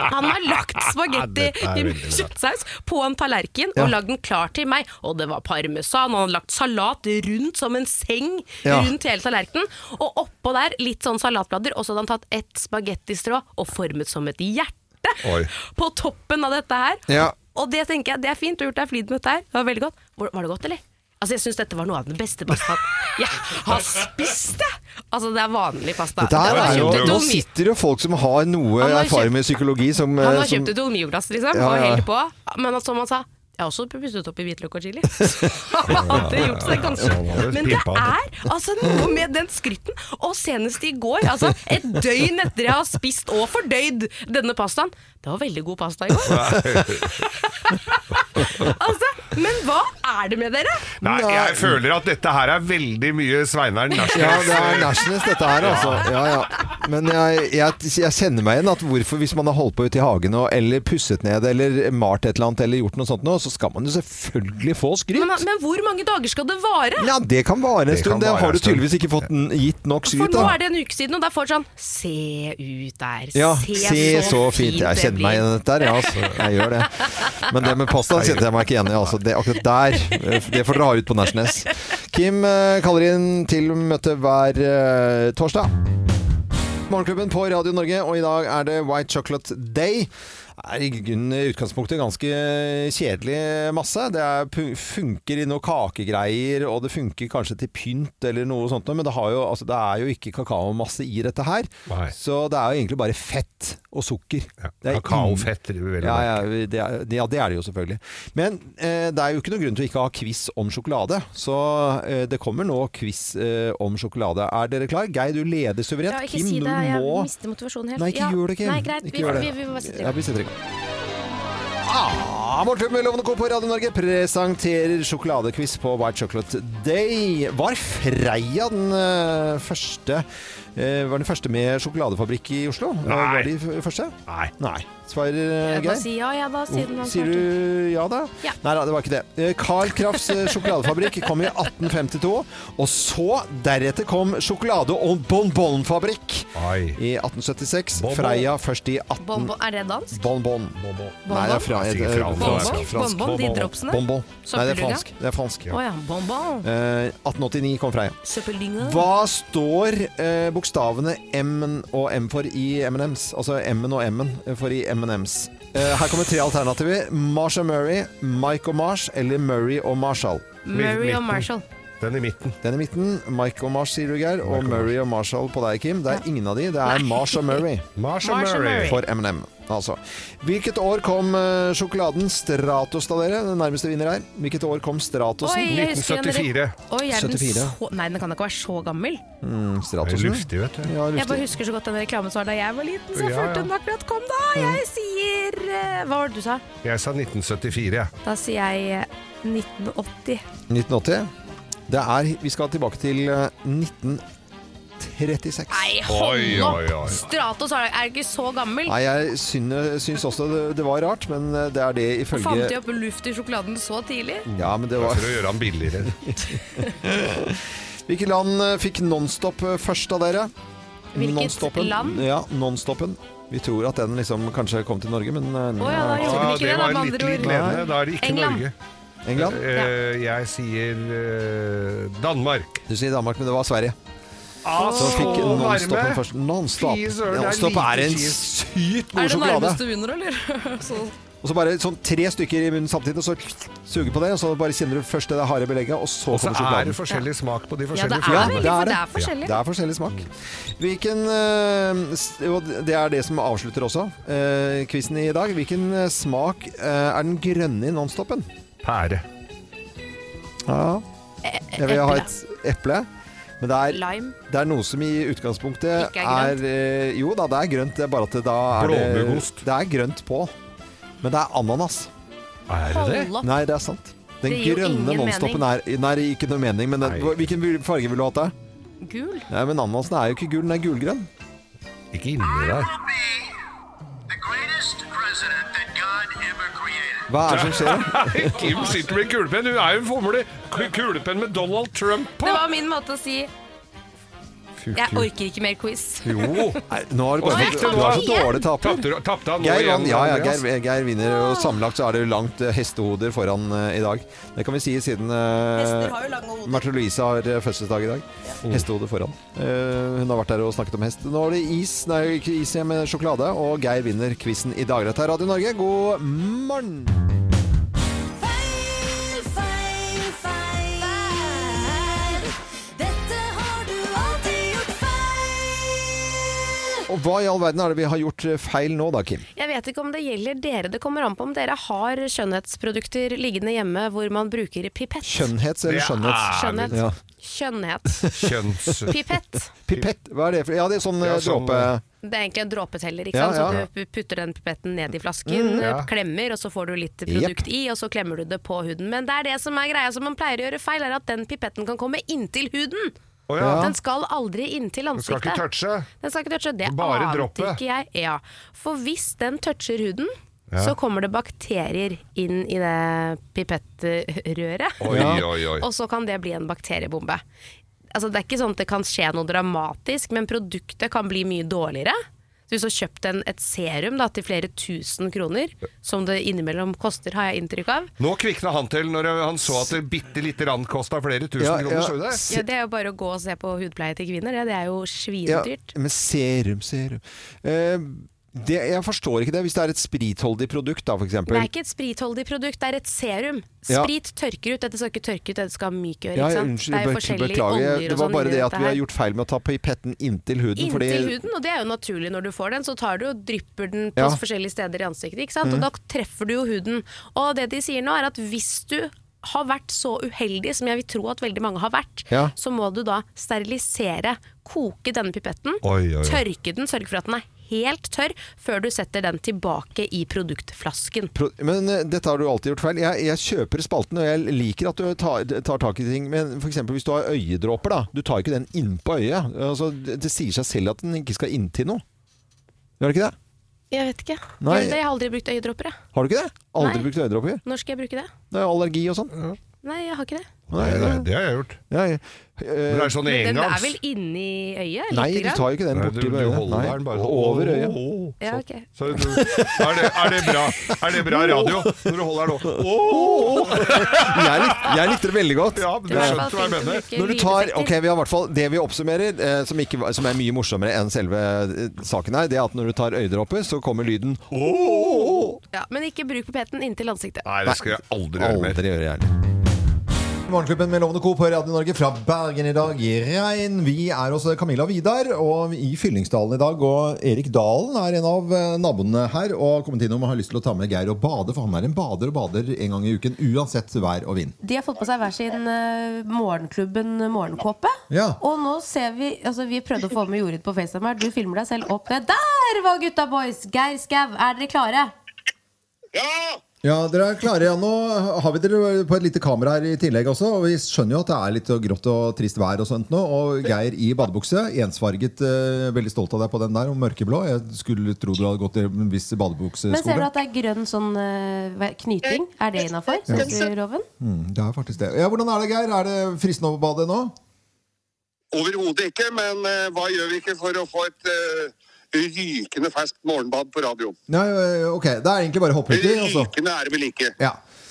[SPEAKER 3] Han har lagt spagetti
[SPEAKER 2] Dette er
[SPEAKER 3] i
[SPEAKER 2] veldig bra.
[SPEAKER 3] kjøttsaus på en tallerken
[SPEAKER 1] Ja.
[SPEAKER 3] og lagd den klar til meg. Og det var parmesan, og han hadde lagt salat rundt som en seng
[SPEAKER 1] Ja.
[SPEAKER 3] rundt hele tallerkenen. Og oppå der litt sånn salatblader, og så hadde han tatt ett spagettistrå og formet som et hjerte
[SPEAKER 2] Oi.
[SPEAKER 3] på toppen av dette her.
[SPEAKER 1] Ja.
[SPEAKER 3] Og det tenker jeg, det er fint, du har gjort deg flid med dette her. Det var veldig godt. Var, var det godt, eller? Altså, jeg syns dette var noe av den beste pastaen jeg har spist, jeg! Altså, det er vanlig pasta.
[SPEAKER 1] Dette her
[SPEAKER 3] Det var
[SPEAKER 1] er jo,
[SPEAKER 3] kjøpt et
[SPEAKER 1] nå
[SPEAKER 3] Dolmi-
[SPEAKER 1] sitter det jo folk som har noe
[SPEAKER 3] Han har
[SPEAKER 1] erfaring
[SPEAKER 3] kjøpt-
[SPEAKER 1] med psykologi som
[SPEAKER 3] han
[SPEAKER 1] eh,
[SPEAKER 3] har
[SPEAKER 1] som-
[SPEAKER 3] kjøpt et Dolmio-glass, liksom,
[SPEAKER 1] Ja,
[SPEAKER 3] og
[SPEAKER 1] ja.
[SPEAKER 3] heller på. Men at, som han sa jeg har også pusset opp i hvitløk og chili. Så han hadde gjort seg
[SPEAKER 2] Ja, han
[SPEAKER 3] kanskje
[SPEAKER 2] hadde
[SPEAKER 3] Men det
[SPEAKER 2] pippa.
[SPEAKER 3] er altså noe med den skrytten. Og senest i går, altså et døgn etter jeg har spist og fordøyd denne pastaen Det var veldig god pasta i går. altså, men hva er det med dere?
[SPEAKER 2] Nei, jeg føler at dette her er veldig mye Sveinaren eh,
[SPEAKER 1] Ja,
[SPEAKER 2] Narsnes.
[SPEAKER 1] det er Nashnes dette her, altså. Ja, ja. Men jeg, jeg, jeg kjenner meg igjen at hvorfor, hvis man har holdt på ute i hagen og, eller pusset ned eller malt et eller annet eller gjort noe sånt nå, så skal man jo selvfølgelig få
[SPEAKER 3] Men,
[SPEAKER 1] skryt.
[SPEAKER 3] men hvor mange dager skal det vare?
[SPEAKER 1] Ja, det kan vare en
[SPEAKER 2] Det
[SPEAKER 1] stund.
[SPEAKER 2] kan
[SPEAKER 1] Det
[SPEAKER 2] vare en
[SPEAKER 1] har du
[SPEAKER 2] stund.
[SPEAKER 1] tydeligvis ikke fått n- gitt nok
[SPEAKER 3] For
[SPEAKER 1] skryt
[SPEAKER 3] nå
[SPEAKER 1] av.
[SPEAKER 3] er det en uke siden, og det er folk sånn Se ut der.
[SPEAKER 1] Ja, se så fint. Jeg kjenner meg igjen i dette her, ja, altså. Jeg gjør det. Men det med pasta kjente jeg meg ikke igjen i. Altså. Det, akkurat der, det får dere ha ut på Nashnes. Kim eh, kaller inn til møte hver eh, torsdag. Morgenklubben på Radio Norge, og i dag er det White Chocolate Day. er i grunnen i utgangspunktet ganske eh, kjedelig masse. Det er, pu- funker i noe kakegreier, og det funker kanskje til pynt eller noe sånt, men det, har jo, altså, det er jo ikke kakaomasse i dette her.
[SPEAKER 2] Nei.
[SPEAKER 1] Så det er jo egentlig bare fett og sukker.
[SPEAKER 2] Ja,
[SPEAKER 1] Det er
[SPEAKER 2] kakaofett driver vi veldig
[SPEAKER 1] ja, ja, vi- det er, det- ja, det er det jo selvfølgelig. Men eh, det er jo ikke noen grunn til å ikke ha quiz om sjokolade. Så eh, det kommer nå quiz eh, om sjokolade. Er dere klar? Geir, du leder suverent.
[SPEAKER 3] Ja, ikke
[SPEAKER 1] Kim,
[SPEAKER 3] si det.
[SPEAKER 1] du
[SPEAKER 3] Jeg
[SPEAKER 1] må
[SPEAKER 3] mister motivasjonen helt.
[SPEAKER 1] Nei, ikke
[SPEAKER 3] Ja.
[SPEAKER 1] gjør det, Kim.
[SPEAKER 3] Nei, greit.
[SPEAKER 1] Ikke
[SPEAKER 3] vi,
[SPEAKER 1] gjør det.
[SPEAKER 3] vi, vi må bare sette i
[SPEAKER 1] Ja,
[SPEAKER 3] gang.
[SPEAKER 1] vi setter i gang. Ah, Morten med Lovende Co. på Radio Norge presenterer sjokoladequiz på White Chocolate Day. Var Freia den eh, første eh, Var den første med sjokoladefabrikk i Oslo? Eh,
[SPEAKER 2] Nei.
[SPEAKER 1] Var de f- første?
[SPEAKER 2] Nei.
[SPEAKER 1] Nei. Svarer eh,
[SPEAKER 3] Jeg må
[SPEAKER 1] Geir?
[SPEAKER 3] si ja, jeg, da, siden han
[SPEAKER 1] Oh, Sier
[SPEAKER 3] svarte.
[SPEAKER 1] du ja da?
[SPEAKER 3] Ja.
[SPEAKER 1] Nei da, det var ikke det. Eh, Carl Krafts eh, sjokoladefabrikk kom i 1852. Og så, deretter kom sjokolade- og bonbonfabrikk
[SPEAKER 2] Oi.
[SPEAKER 1] i 1876.
[SPEAKER 2] Bonbon.
[SPEAKER 1] Freia først i 18...
[SPEAKER 3] Bonbon, er det dansk?
[SPEAKER 1] Bonbon. Nei, det er fra,
[SPEAKER 2] Jeg sier
[SPEAKER 1] eh,
[SPEAKER 2] fra- Bonbon?
[SPEAKER 1] fransk. fransk.
[SPEAKER 3] Bonbon, de
[SPEAKER 2] Bonbon.
[SPEAKER 3] dropsene?
[SPEAKER 1] Bonbon. Nei, det er
[SPEAKER 3] Søppeldyr, ja.
[SPEAKER 1] fransk. Det er fransk.
[SPEAKER 3] Å ja, bonbon.
[SPEAKER 1] Eh, 1889 kom Freia.
[SPEAKER 3] Søppeldynga.
[SPEAKER 1] Hva står eh, bokstavene M og M for i M&M's? Altså M-en og M-en for i M&M's. Eh, her kommer tre alternativer. Marsha Murray, Mike og Marsh eller Murray og Marshall.
[SPEAKER 3] Murray og Marshall.
[SPEAKER 2] Den i midten.
[SPEAKER 1] Den i midten. Mike og Marsh, sier du, Geir. Og Murray og Marshall på deg, Kim. Det er ingen av de. Det er Marsha Murray
[SPEAKER 2] Marsha
[SPEAKER 3] Marsha
[SPEAKER 2] Murray.
[SPEAKER 3] Murray.
[SPEAKER 1] for M&M. Altså. Hvilket år kom eh, sjokoladen Stratos da, dere? Den nærmeste vinner her. Hvilket år kom Stratosen?
[SPEAKER 3] jeg husker den
[SPEAKER 2] 1974.
[SPEAKER 3] der- Oi, er den
[SPEAKER 1] 74.
[SPEAKER 3] så Nei, den kan da ikke være så gammel.
[SPEAKER 2] Det er
[SPEAKER 1] Mm, Stratosen?
[SPEAKER 2] luftig, vet du.
[SPEAKER 1] Ja,
[SPEAKER 3] Jeg bare
[SPEAKER 1] luftig.
[SPEAKER 3] husker så godt den reklamen som var da jeg var liten, så
[SPEAKER 2] Ja,
[SPEAKER 3] fort
[SPEAKER 2] ja.
[SPEAKER 3] den akkurat kom, da. Jeg sier eh, Hva var det du sa?
[SPEAKER 2] Jeg sa 1974, jeg.
[SPEAKER 3] Da sier jeg eh, 1980.
[SPEAKER 1] 1980. Det er, vi skal tilbake til eh, 1936.
[SPEAKER 3] Nei,
[SPEAKER 2] Oi,
[SPEAKER 3] hold
[SPEAKER 2] oi, oi.
[SPEAKER 3] opp! Stratos er er ikke så gammel.
[SPEAKER 1] Nei, jeg syne- syns også det, det var rart, men eh, det er det
[SPEAKER 3] Fant de
[SPEAKER 1] ifølge
[SPEAKER 3] opp luft i sjokoladen så tidlig?
[SPEAKER 1] ja, men det var.
[SPEAKER 2] For å gjøre han billigere.
[SPEAKER 1] Hvilket land eh, fikk Nonstop eh, først av dere?
[SPEAKER 3] Hvilket
[SPEAKER 1] Nonstoppen.
[SPEAKER 3] land?
[SPEAKER 1] Ja, Nonstoppen. Vi tror at den liksom kanskje kom til Norge, men eh,
[SPEAKER 3] Å ja, da gjorde
[SPEAKER 2] Ja,
[SPEAKER 3] den ikke
[SPEAKER 2] det
[SPEAKER 3] det, da,
[SPEAKER 2] var
[SPEAKER 3] med
[SPEAKER 2] litt
[SPEAKER 3] andre ord.
[SPEAKER 2] ledende. Da er det ikke
[SPEAKER 3] England.
[SPEAKER 2] Norge.
[SPEAKER 1] England?
[SPEAKER 2] Eh, jeg sier eh, Danmark.
[SPEAKER 1] Du sier Danmark, men det var Sverige.
[SPEAKER 2] Altså,
[SPEAKER 1] Ah, Så fikk Nonstoppen først. Nonstop.
[SPEAKER 2] Fy søren, det er
[SPEAKER 1] Nonstop
[SPEAKER 2] like
[SPEAKER 1] er en
[SPEAKER 2] cheese.
[SPEAKER 1] sykt
[SPEAKER 3] Er
[SPEAKER 1] god
[SPEAKER 3] det
[SPEAKER 1] sjokolade.
[SPEAKER 3] nærmeste du vinner, eller? så,
[SPEAKER 1] Og så bare sånn tre stykker i munnen samtidig, og så suger på det, og så bare kjenner du først det der harde belegget, og så
[SPEAKER 2] Og så
[SPEAKER 1] kommer
[SPEAKER 2] er
[SPEAKER 1] sjokoladen.
[SPEAKER 2] det forskjellig smak på de
[SPEAKER 3] ja, det
[SPEAKER 2] forskjellige
[SPEAKER 3] er
[SPEAKER 1] det
[SPEAKER 3] veldig,
[SPEAKER 1] er
[SPEAKER 3] for
[SPEAKER 1] det.
[SPEAKER 3] det er forskjellig.
[SPEAKER 1] Det er forskjellig smak. Hvilken eh, s- Og det er det som avslutter også uh, quizen i dag. Hvilken eh, smak eh, er den grønne i Nonstopen?
[SPEAKER 2] Pære.
[SPEAKER 1] Ja, jeg vil ha et eple. Men det er,
[SPEAKER 3] Lime.
[SPEAKER 1] det er noe som i utgangspunktet
[SPEAKER 3] Ikke
[SPEAKER 1] er,
[SPEAKER 3] er
[SPEAKER 1] eh, Jo da, det er grønt, det er bare at det da er det,
[SPEAKER 2] Blåbærgost.
[SPEAKER 1] det er grønt på. Men det er ananas.
[SPEAKER 2] Er det det?
[SPEAKER 3] Hold opp.
[SPEAKER 1] Nei, det er sant. Den
[SPEAKER 3] Det gir jo
[SPEAKER 1] grønne
[SPEAKER 3] ingen
[SPEAKER 1] nonstopen er Nei, det gir ikke noe mening, men den,
[SPEAKER 2] Nei.
[SPEAKER 1] hvilken vil- farge vil du ha til?
[SPEAKER 3] Gul.
[SPEAKER 1] Nei, men ananasen er jo ikke gul, den er gulgrønn.
[SPEAKER 2] Ikke inni der.
[SPEAKER 1] Hva er det som skjer? da?
[SPEAKER 2] Kim sitter med en kulepenn. Hun er jo en fomle. Ku- Kulepenn med Donald Trump på.
[SPEAKER 3] Det var min måte å si Jeg orker ikke mer quiz.
[SPEAKER 2] Jo.
[SPEAKER 1] Nei, nå har du bare
[SPEAKER 2] Oi, det
[SPEAKER 1] fått Du er så
[SPEAKER 3] var-
[SPEAKER 1] dårlig taper.
[SPEAKER 2] Oh. Tapte du- tapte han nå
[SPEAKER 1] Geir,
[SPEAKER 2] igjen?
[SPEAKER 1] vant, ja, ja,
[SPEAKER 2] Andreas?
[SPEAKER 1] Geir, Geir vinner, og sammenlagt så er det jo langt eh, hestehoder foran eh, i dag. Det kan vi si siden
[SPEAKER 5] Hester
[SPEAKER 1] uh,
[SPEAKER 5] har jo lange hoder.
[SPEAKER 1] Märtha Louise har eh, fødselsdag i dag.
[SPEAKER 2] Mm.
[SPEAKER 1] Hestehode foran. Eh, hun har vært der og snakket om hest. Nå er det is, nei, ikke is igjen, men sjokolade, og Geir vinner quizen i dag. Dette er Radio Norge, god morgen!
[SPEAKER 5] Feil, feil, feil. Dette har du alltid gjort feil.
[SPEAKER 1] Og hva i all verden er det vi har gjort eh, feil nå da, Kim?
[SPEAKER 3] Jeg vet ikke om det gjelder dere. Det kommer an på om dere har skjønnhetsprodukter liggende hjemme hvor man bruker pipett.
[SPEAKER 1] Kjønnhets eller
[SPEAKER 2] Det er-
[SPEAKER 1] skjønnhets?
[SPEAKER 3] Skjønnhet.
[SPEAKER 1] Ja.
[SPEAKER 3] Skjønnhet.
[SPEAKER 2] Kjønns...
[SPEAKER 3] Pipett.
[SPEAKER 1] Pipett, hva er det for Ja, det er sånn
[SPEAKER 2] Ja,
[SPEAKER 1] eh,
[SPEAKER 2] sånn-
[SPEAKER 1] dråpe
[SPEAKER 3] Det er egentlig en dråpeteller. ikke
[SPEAKER 1] Ja,
[SPEAKER 3] sant?
[SPEAKER 1] ja. Mm,
[SPEAKER 3] Så du putter den pipetten ned i flasken,
[SPEAKER 2] ja.
[SPEAKER 3] klemmer, og så får du litt produkt i, og så klemmer du det på huden. Men det er det som er greia som man pleier å gjøre feil, er at den pipetten kan komme inntil huden.
[SPEAKER 2] Å ja.
[SPEAKER 3] Den skal aldri inntil
[SPEAKER 2] Du skal
[SPEAKER 3] ansiktet.
[SPEAKER 2] ikke touche.
[SPEAKER 3] Den skal ikke touche. Det
[SPEAKER 2] Bare
[SPEAKER 3] ante
[SPEAKER 2] droppe.
[SPEAKER 3] ikke jeg. Ja. For hvis den toucher huden, så kommer det bakterier inn i det pipettrøret.
[SPEAKER 2] Oi, oi, oi.
[SPEAKER 3] Og så kan det bli en bakteriebombe. Altså, det er ikke sånn at det kan skje noe dramatisk, men produktet kan bli mye dårligere. Så hvis du har kjøpt en, et serum da, til flere tusen kroner, som det innimellom koster, har jeg inntrykk av,
[SPEAKER 2] Nå kvikna han til når han så at det bitte lite rand kosta flere tusen
[SPEAKER 1] Ja,
[SPEAKER 2] kroner.
[SPEAKER 1] ja.
[SPEAKER 2] Så du det?
[SPEAKER 3] ja, det er jo bare å gå og se på hudpleie til kvinner. Ja, det er jo
[SPEAKER 1] ja,
[SPEAKER 3] svindyrt.
[SPEAKER 1] Men serum, serum eh, Det, jeg forstår ikke det. Hvis det er et spritholdig produkt, da, for
[SPEAKER 3] Det
[SPEAKER 1] eksempel.
[SPEAKER 3] er ikke et spritholdig produkt, det er et serum.
[SPEAKER 1] Ja.
[SPEAKER 3] Sprit tørker ut, dette skal ikke tørke ut, dette skal mykgjøre.
[SPEAKER 1] Ja,
[SPEAKER 3] ikke sant?
[SPEAKER 1] unnskyld,
[SPEAKER 3] det er jo
[SPEAKER 1] be-
[SPEAKER 3] forskjellige
[SPEAKER 1] beklager.
[SPEAKER 3] oljer
[SPEAKER 1] Det
[SPEAKER 3] og
[SPEAKER 1] var
[SPEAKER 3] sånn
[SPEAKER 1] bare
[SPEAKER 3] inni
[SPEAKER 1] det at
[SPEAKER 3] dette
[SPEAKER 1] vi har
[SPEAKER 3] her.
[SPEAKER 1] gjort feil med å ta pipetten inntil huden.
[SPEAKER 3] Inntil
[SPEAKER 1] fordi,
[SPEAKER 3] huden, og det er jo naturlig når du får den. Så tar du og drypper den på
[SPEAKER 1] Ja. Mhm.
[SPEAKER 3] forskjellige steder i ansiktet, ikke sant? og da treffer du jo huden. Og det de sier nå, er at hvis du har vært så uheldig som jeg vil tro at veldig mange har vært,
[SPEAKER 1] Ja.
[SPEAKER 3] så må du da sterilisere, koke denne pipetten,
[SPEAKER 2] Oi, oi, oi.
[SPEAKER 3] tørke den, sørge for at den er helt tørr, før du setter den tilbake i produktflasken.
[SPEAKER 1] Pro- Men eh, dette har du alltid gjort feil. Jeg, jeg kjøper spalten, og jeg liker at du tar, tar tak i ting. Men f.eks. hvis du har øyedråper, da. Du tar ikke den innpå øyet. Altså, det, det sier seg selv at den ikke skal inntil noe. Gjør det ikke det?
[SPEAKER 3] Jeg vet ikke.
[SPEAKER 1] Nei.
[SPEAKER 3] Jeg har aldri brukt øyedråper, jeg.
[SPEAKER 1] Har du ikke det? Aldri
[SPEAKER 3] Nei.
[SPEAKER 1] brukt øyedråper?
[SPEAKER 3] Når skal jeg bruke det?
[SPEAKER 1] Det er jo allergi og sånn.
[SPEAKER 3] Nei, jeg har ikke det.
[SPEAKER 1] Nei,
[SPEAKER 2] Nei, det har jeg gjort.
[SPEAKER 1] Ja, ja.
[SPEAKER 2] Men
[SPEAKER 1] Eh,
[SPEAKER 2] det er sånn
[SPEAKER 3] Men den er
[SPEAKER 2] engangs.
[SPEAKER 3] vel inni øyet?
[SPEAKER 1] nei,
[SPEAKER 3] lite
[SPEAKER 1] du
[SPEAKER 3] grann?
[SPEAKER 1] tar jo ikke den
[SPEAKER 2] Nei,
[SPEAKER 1] borti
[SPEAKER 2] du
[SPEAKER 1] øyet.
[SPEAKER 2] holder den
[SPEAKER 1] Nei,
[SPEAKER 2] bare sånn.
[SPEAKER 1] Over øyet.
[SPEAKER 2] Åh, åh,
[SPEAKER 3] Ja,
[SPEAKER 2] sånn.
[SPEAKER 3] ok.
[SPEAKER 2] Så du, er, det, er, det bra, er det bra radio når du holder den opp? Åh!
[SPEAKER 1] Jeg, lik, jeg likte det veldig godt.
[SPEAKER 2] Ja, men
[SPEAKER 3] Det er i
[SPEAKER 2] du
[SPEAKER 3] hvert fall fint
[SPEAKER 2] skjønte hva jeg
[SPEAKER 3] å
[SPEAKER 2] mener.
[SPEAKER 3] bruke
[SPEAKER 1] Når du tar,
[SPEAKER 3] lydeffekter.
[SPEAKER 1] ok, vi har i hvert fall Det vi oppsummerer, eh, som, ikke, var- som er mye morsommere enn selve eh, saken her, det er at når du tar øyedråper, så kommer lyden
[SPEAKER 3] Ja, men ikke bruk pipetten inntil ansiktet.
[SPEAKER 2] Nei, det skal jeg aldri gjøre mer.
[SPEAKER 1] Aldri gjøre jeg Morgenklubben med Lovende Co på Radio Norge fra Bergen i dag i regn. Vi er hos Camilla Vidar og i Fyllingsdalen i dag. Og Erik Dalen er en av eh, naboene her og har kommet innom og har lyst til å ta med Geir og bade. For han er en bader og bader en gang i uken uansett vær og vind.
[SPEAKER 10] De har fått på seg hver sin eh, Morgenklubben morgenkåpe.
[SPEAKER 1] Ja.
[SPEAKER 10] Og nå ser vi altså Vi prøvde å få med Jorid på FaceTime her. Du filmer deg selv opp ned. Der var gutta boys! Geir Skau, er dere klare?
[SPEAKER 1] Ja, dere er klare. Ja, nå har vi dere på et lite kamera her i tillegg også. Og vi skjønner jo at det er litt grått og trist vær og sånt nå. Og Geir i badebukse, ensfarget. eh, veldig stolt av deg på den der, og mørkeblå. Jeg skulle tro du hadde gått i en
[SPEAKER 10] Men
[SPEAKER 1] viss
[SPEAKER 10] ser dere
[SPEAKER 1] badebukseskolen.
[SPEAKER 10] at det er grønn sånn eh, hva- knyting? Er det innafor? Ja.
[SPEAKER 1] Mm, det er faktisk det. Ja, hvordan er det, Geir? Er det fristende å bade nå?
[SPEAKER 11] Overhodet ikke, men eh, hva gjør vi ikke for å få et eh, rykende ferskt morgenbad på radio?
[SPEAKER 1] Nei, eh, ok. Det altså. er egentlig bare å hoppe uti, og så
[SPEAKER 11] Rykende er det vel ikke.
[SPEAKER 1] Ja.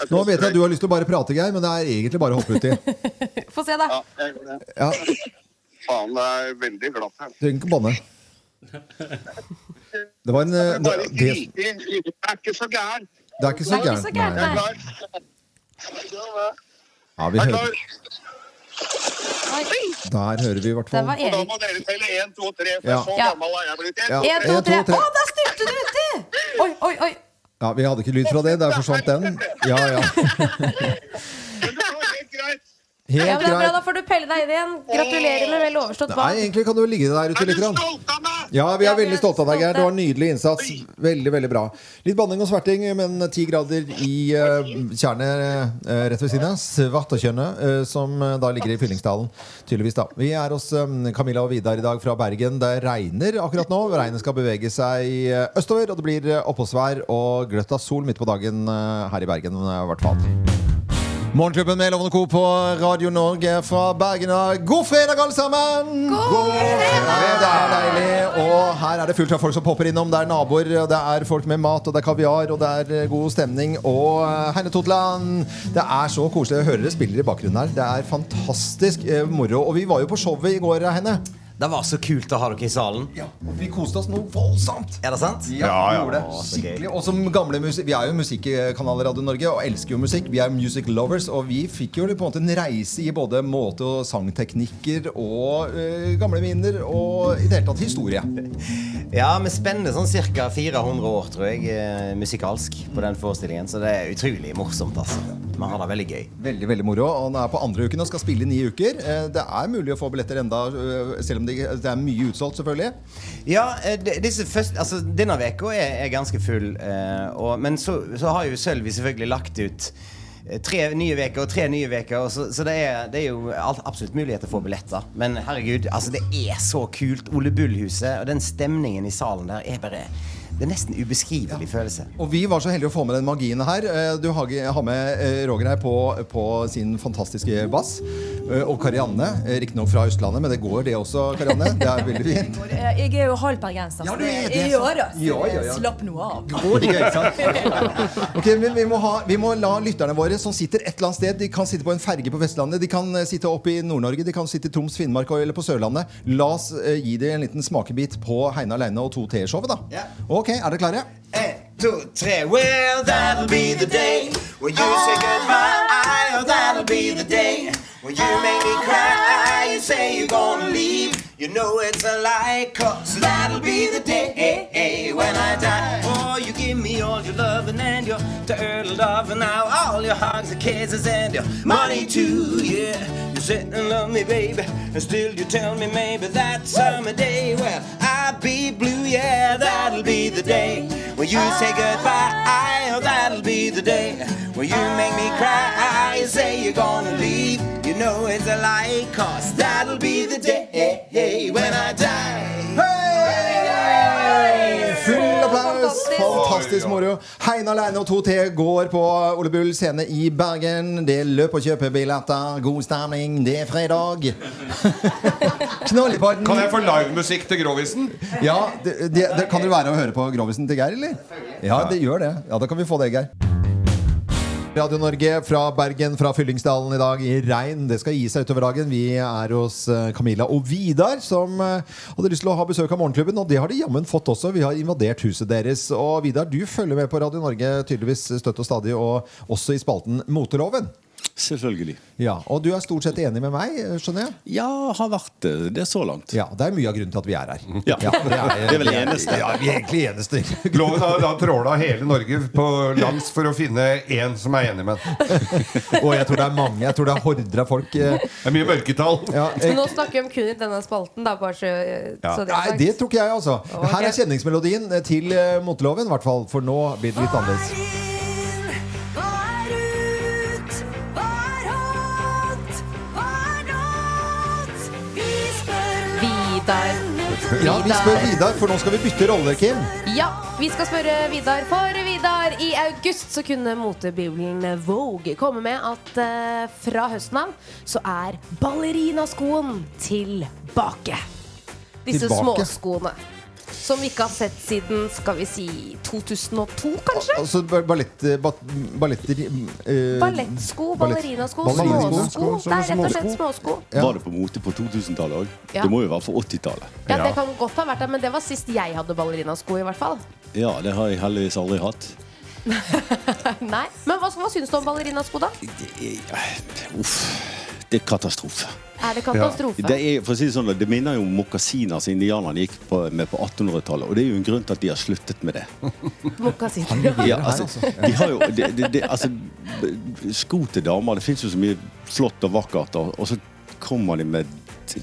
[SPEAKER 1] Nå vet jeg at du har lyst til å bare prate, Geir, men det er egentlig bare å hoppe uti.
[SPEAKER 10] Få se, da.
[SPEAKER 11] Ja, jeg,
[SPEAKER 1] Ja,
[SPEAKER 11] faen, det er veldig glatt her.
[SPEAKER 1] trenger ikke banne. Det var en eh,
[SPEAKER 11] Bare
[SPEAKER 1] Det, det,
[SPEAKER 11] grite inn. Det er ikke så gærent.
[SPEAKER 1] det er ikke
[SPEAKER 10] Det
[SPEAKER 1] så
[SPEAKER 10] er ikke så
[SPEAKER 1] gærent.
[SPEAKER 10] gærent,
[SPEAKER 1] nei.
[SPEAKER 11] Jeg er klar. Jeg
[SPEAKER 10] nei.
[SPEAKER 1] Ja, vi
[SPEAKER 11] er
[SPEAKER 1] hører.
[SPEAKER 11] klar.
[SPEAKER 10] Oi.
[SPEAKER 1] Der hører vi i hvert
[SPEAKER 10] Der
[SPEAKER 1] fall.
[SPEAKER 10] var
[SPEAKER 11] Og da
[SPEAKER 10] Erik.
[SPEAKER 11] må dere telle 1, 2, 3, for
[SPEAKER 1] Ja.
[SPEAKER 11] så
[SPEAKER 10] Ja.
[SPEAKER 11] gammel er jeg blitt.
[SPEAKER 1] Ja.
[SPEAKER 10] Én, to,
[SPEAKER 1] En, to,
[SPEAKER 10] tre.
[SPEAKER 1] tre.
[SPEAKER 10] Å, der styrte du uti! Oi, oi, oi.
[SPEAKER 1] Ja, Vi hadde ikke lyd fra det, der forsvant den. Ja, ja.
[SPEAKER 11] Men det går helt greit.
[SPEAKER 10] Ja,
[SPEAKER 1] Helt
[SPEAKER 10] men det er bra,
[SPEAKER 1] greit.
[SPEAKER 10] Da får du pelle deg inn igjen. Gratulerer med vel overstått
[SPEAKER 1] Nei,
[SPEAKER 10] bad.
[SPEAKER 1] egentlig kan du ligge der ute
[SPEAKER 11] Er
[SPEAKER 1] litt.
[SPEAKER 11] du
[SPEAKER 1] Grann.
[SPEAKER 11] stolt av meg?
[SPEAKER 1] Ja, vi
[SPEAKER 10] Ja,
[SPEAKER 1] er
[SPEAKER 10] vi er
[SPEAKER 1] veldig stolte av deg, Geir. Det var en nydelig innsats. Veldig, veldig bra. Litt banning og sverting, men ti grader i uh, tjernet eh, rett ved siden av. Svartekjønnet, eh, som eh, da ligger i Fyllingsdalen. Tydeligvis, da. Vi er hos eh, Camilla og Vidar i dag fra Bergen. Det regner akkurat nå. Regnet skal bevege seg eh, østover, og det blir eh, oppholdsvær og gløtt av sol midt på dagen eh, her i Bergen, eh, i hvert fall. Morgenklubben med Lovende Co på Radio Norge fra Bergen. Og God fredag, alle sammen! God fredag! Det er deilig. Og her er det fullt av folk som popper innom. Det er naboer, og det er folk med mat, og det er kaviar, og det er eh, god stemning. Og eh, Heine Totland! Det er så koselig. Jeg hører dere spiller i bakgrunnen her. Det er fantastisk eh, moro. Og vi var jo på showet i går, Heine.
[SPEAKER 12] Det var så kult å ha dere i salen.
[SPEAKER 1] Ja, og vi koste oss noe voldsomt.
[SPEAKER 12] Er det sant?
[SPEAKER 1] Ja, vi gjorde det.
[SPEAKER 12] Å, så gøy.
[SPEAKER 1] Skikkelig. Og som gamle musik Vi er jo musikkkanal Radio Norge og elsker jo musikk. Vi er music lovers, og vi fikk jo på en måte en reise i både måte og sangteknikker og eh, gamle minner og i det hele tatt historie.
[SPEAKER 12] Ja, vi spenner sånn ca. 400 år, tror jeg, eh, musikalsk på den forestillingen. Så det er utrolig morsomt, altså. Vi har det veldig gøy.
[SPEAKER 1] Veldig veldig moro. Og Han er på andre uken og skal spille i ni uker. Eh, Det er mulig å få billetter enda, eh, selv om det ikke- det er mye utsolgt, selvfølgelig.
[SPEAKER 12] Ja, eh, de- disse første, altså, denne veka er, er ganske full. eh, og, men så, så har jo Sølvi selvfølgelig lagt ut eh, tre nye veker og tre nye veker og så, så det, er, det er jo alt, absolutt muligheter for billetter. Men herregud, altså, det er så kult. Ole Bull-huset og den stemningen i salen der er bare Det er nesten ubeskrivelig følelse.
[SPEAKER 1] Og vi var så heldige å få med den magien her. Eh, Du har har med eh, Roger her på, på sin fantastiske bass. Eh, Og Karianne, eh, riktignok fra Østlandet, men det går det også, Karianne. Det er veldig fint.
[SPEAKER 13] Eh, Jeg er jo halv bergenser, så det
[SPEAKER 1] er det. altså.
[SPEAKER 13] jeg gjør det. Så
[SPEAKER 1] Ja, ja, ja.
[SPEAKER 13] Slapp nå av.
[SPEAKER 1] Både gøy, ikke sant? Ok, men vi må, ha, vi må la lytterne våre som sitter et eller annet sted De kan sitte på en ferge på Vestlandet, de kan eh, sitte oppe i Nord-Norge, de kan sitte i Troms, Finnmark og- eller på Sørlandet. La oss eh, gi dem en liten smakebit på Heine aleine og to T-showet, da. Ok, er dere klare?
[SPEAKER 12] Two, three. Well, that'll be the day when you say goodbye. Oh, that'll be the day when you make me cry. You say you're gonna leave. You know it's a lie, cause that'll be the day when I die. Oh, you give me all your loving and your dirty love, and now all your hugs and kisses and your money too, yeah. You sit and love me, baby, and still you tell me maybe that summer day, well, I'll be blue, yeah, that'll be the day when you say goodbye. Oh, that'll be the day when you make me cry. You say you're gonna leave, you know it's a lie, cause that'll be the day when I die.
[SPEAKER 1] Full applaus! Fantastisk moro. Heine aleine og 2T går på Ole Bull scene i Bergen. Det er løp og kjøpe billetter. God stemning, det er fredag. Knall i parten.
[SPEAKER 2] Kan jeg få livemusikk til Grovisen?
[SPEAKER 1] Ja, det, det, det, Kan dere være og høre på Grovisen til Geir, eller? Ja, det gjør det. Ja, Da kan vi få det, Geir. Radio Norge fra Bergen, fra Fyllingsdalen i dag i regn. Det skal gi seg utover dagen. Vi er hos eh, Camilla og Vidar, som eh, hadde lyst til å ha besøk av Morgenklubben. Og det har de jammen fått også. Vi har invadert huset deres. Og Vidar, du følger med på Radio Norge tydeligvis støtt og stadig, og også i spalten Moteloven.
[SPEAKER 14] Selvfølgelig.
[SPEAKER 1] Ja, Og du er stort sett enig med meg, eh, skjønner jeg?
[SPEAKER 14] Ja, har vært det. Det er så langt.
[SPEAKER 1] Ja, Det er mye av grunnen til at vi er her.
[SPEAKER 14] Ja.
[SPEAKER 1] det, er,
[SPEAKER 14] Det er vel eneste.
[SPEAKER 1] Ja, vi er egentlig eneste.
[SPEAKER 2] Loven har da tråla hele Norge på langs for å finne én som er enig med den.
[SPEAKER 1] Og jeg tror det er mange. Jeg tror det er horder av folk. eh, Det
[SPEAKER 2] er mye mørketall.
[SPEAKER 1] Ja,
[SPEAKER 3] Men nå snakker vi om kun i denne spalten, da, bare så, eh, så det er
[SPEAKER 1] Nei,
[SPEAKER 3] sagt.
[SPEAKER 1] det tror ikke jeg, altså.
[SPEAKER 3] Ok.
[SPEAKER 1] Her er kjenningsmelodien til eh, moteloven, i hvert fall. For nå blir det litt annerledes.
[SPEAKER 5] Hva er ut? Hva er hot? Hva er not? Vi spør
[SPEAKER 3] Vidar.
[SPEAKER 1] Ja, vi spør Vidar, for nå skal vi bytte roller, Kim.
[SPEAKER 3] Ja, vi skal spørre Vidar. For Vidar, i august så kunne motebibelen Vogue komme med at eh, fra høsten av så er ballerinaskoen tilbake. Disse
[SPEAKER 1] Tilbake?
[SPEAKER 3] småskoene. Som vi ikke har sett siden skal vi si 2002, kanskje?
[SPEAKER 1] Altså ba- ballett... eh, ba- balletter eh,
[SPEAKER 3] Ballettsko,
[SPEAKER 1] ballett-
[SPEAKER 3] ballerinasko,
[SPEAKER 1] ballerinasko.
[SPEAKER 3] småsko. Det er rett og slett småsko.
[SPEAKER 14] Var det på mote på 2000-tallet òg?
[SPEAKER 3] Ja.
[SPEAKER 14] Det må jo være for 80-tallet.
[SPEAKER 3] Ja, Det kan godt ha vært det, men det var sist jeg hadde ballerinasko, i hvert fall.
[SPEAKER 14] ja, det har jeg heldigvis aldri hatt.
[SPEAKER 3] Nei, Men hva, hva syns du om ballerinasko, da?
[SPEAKER 14] Uff. Det er katastrofe.
[SPEAKER 3] Er det katastrofe?
[SPEAKER 14] Ja. Det, er, for å si det, sånn, det minner jo om mokasiner som indianerne gikk på, med på 1800-tallet. Og det er jo en grunn til at de har sluttet med det.
[SPEAKER 3] Mokasiner.
[SPEAKER 14] Ja, altså, de har jo, det- det- det- altså, b- sko til damer, det fins jo så mye flott og vakkert, og, og så kommer de med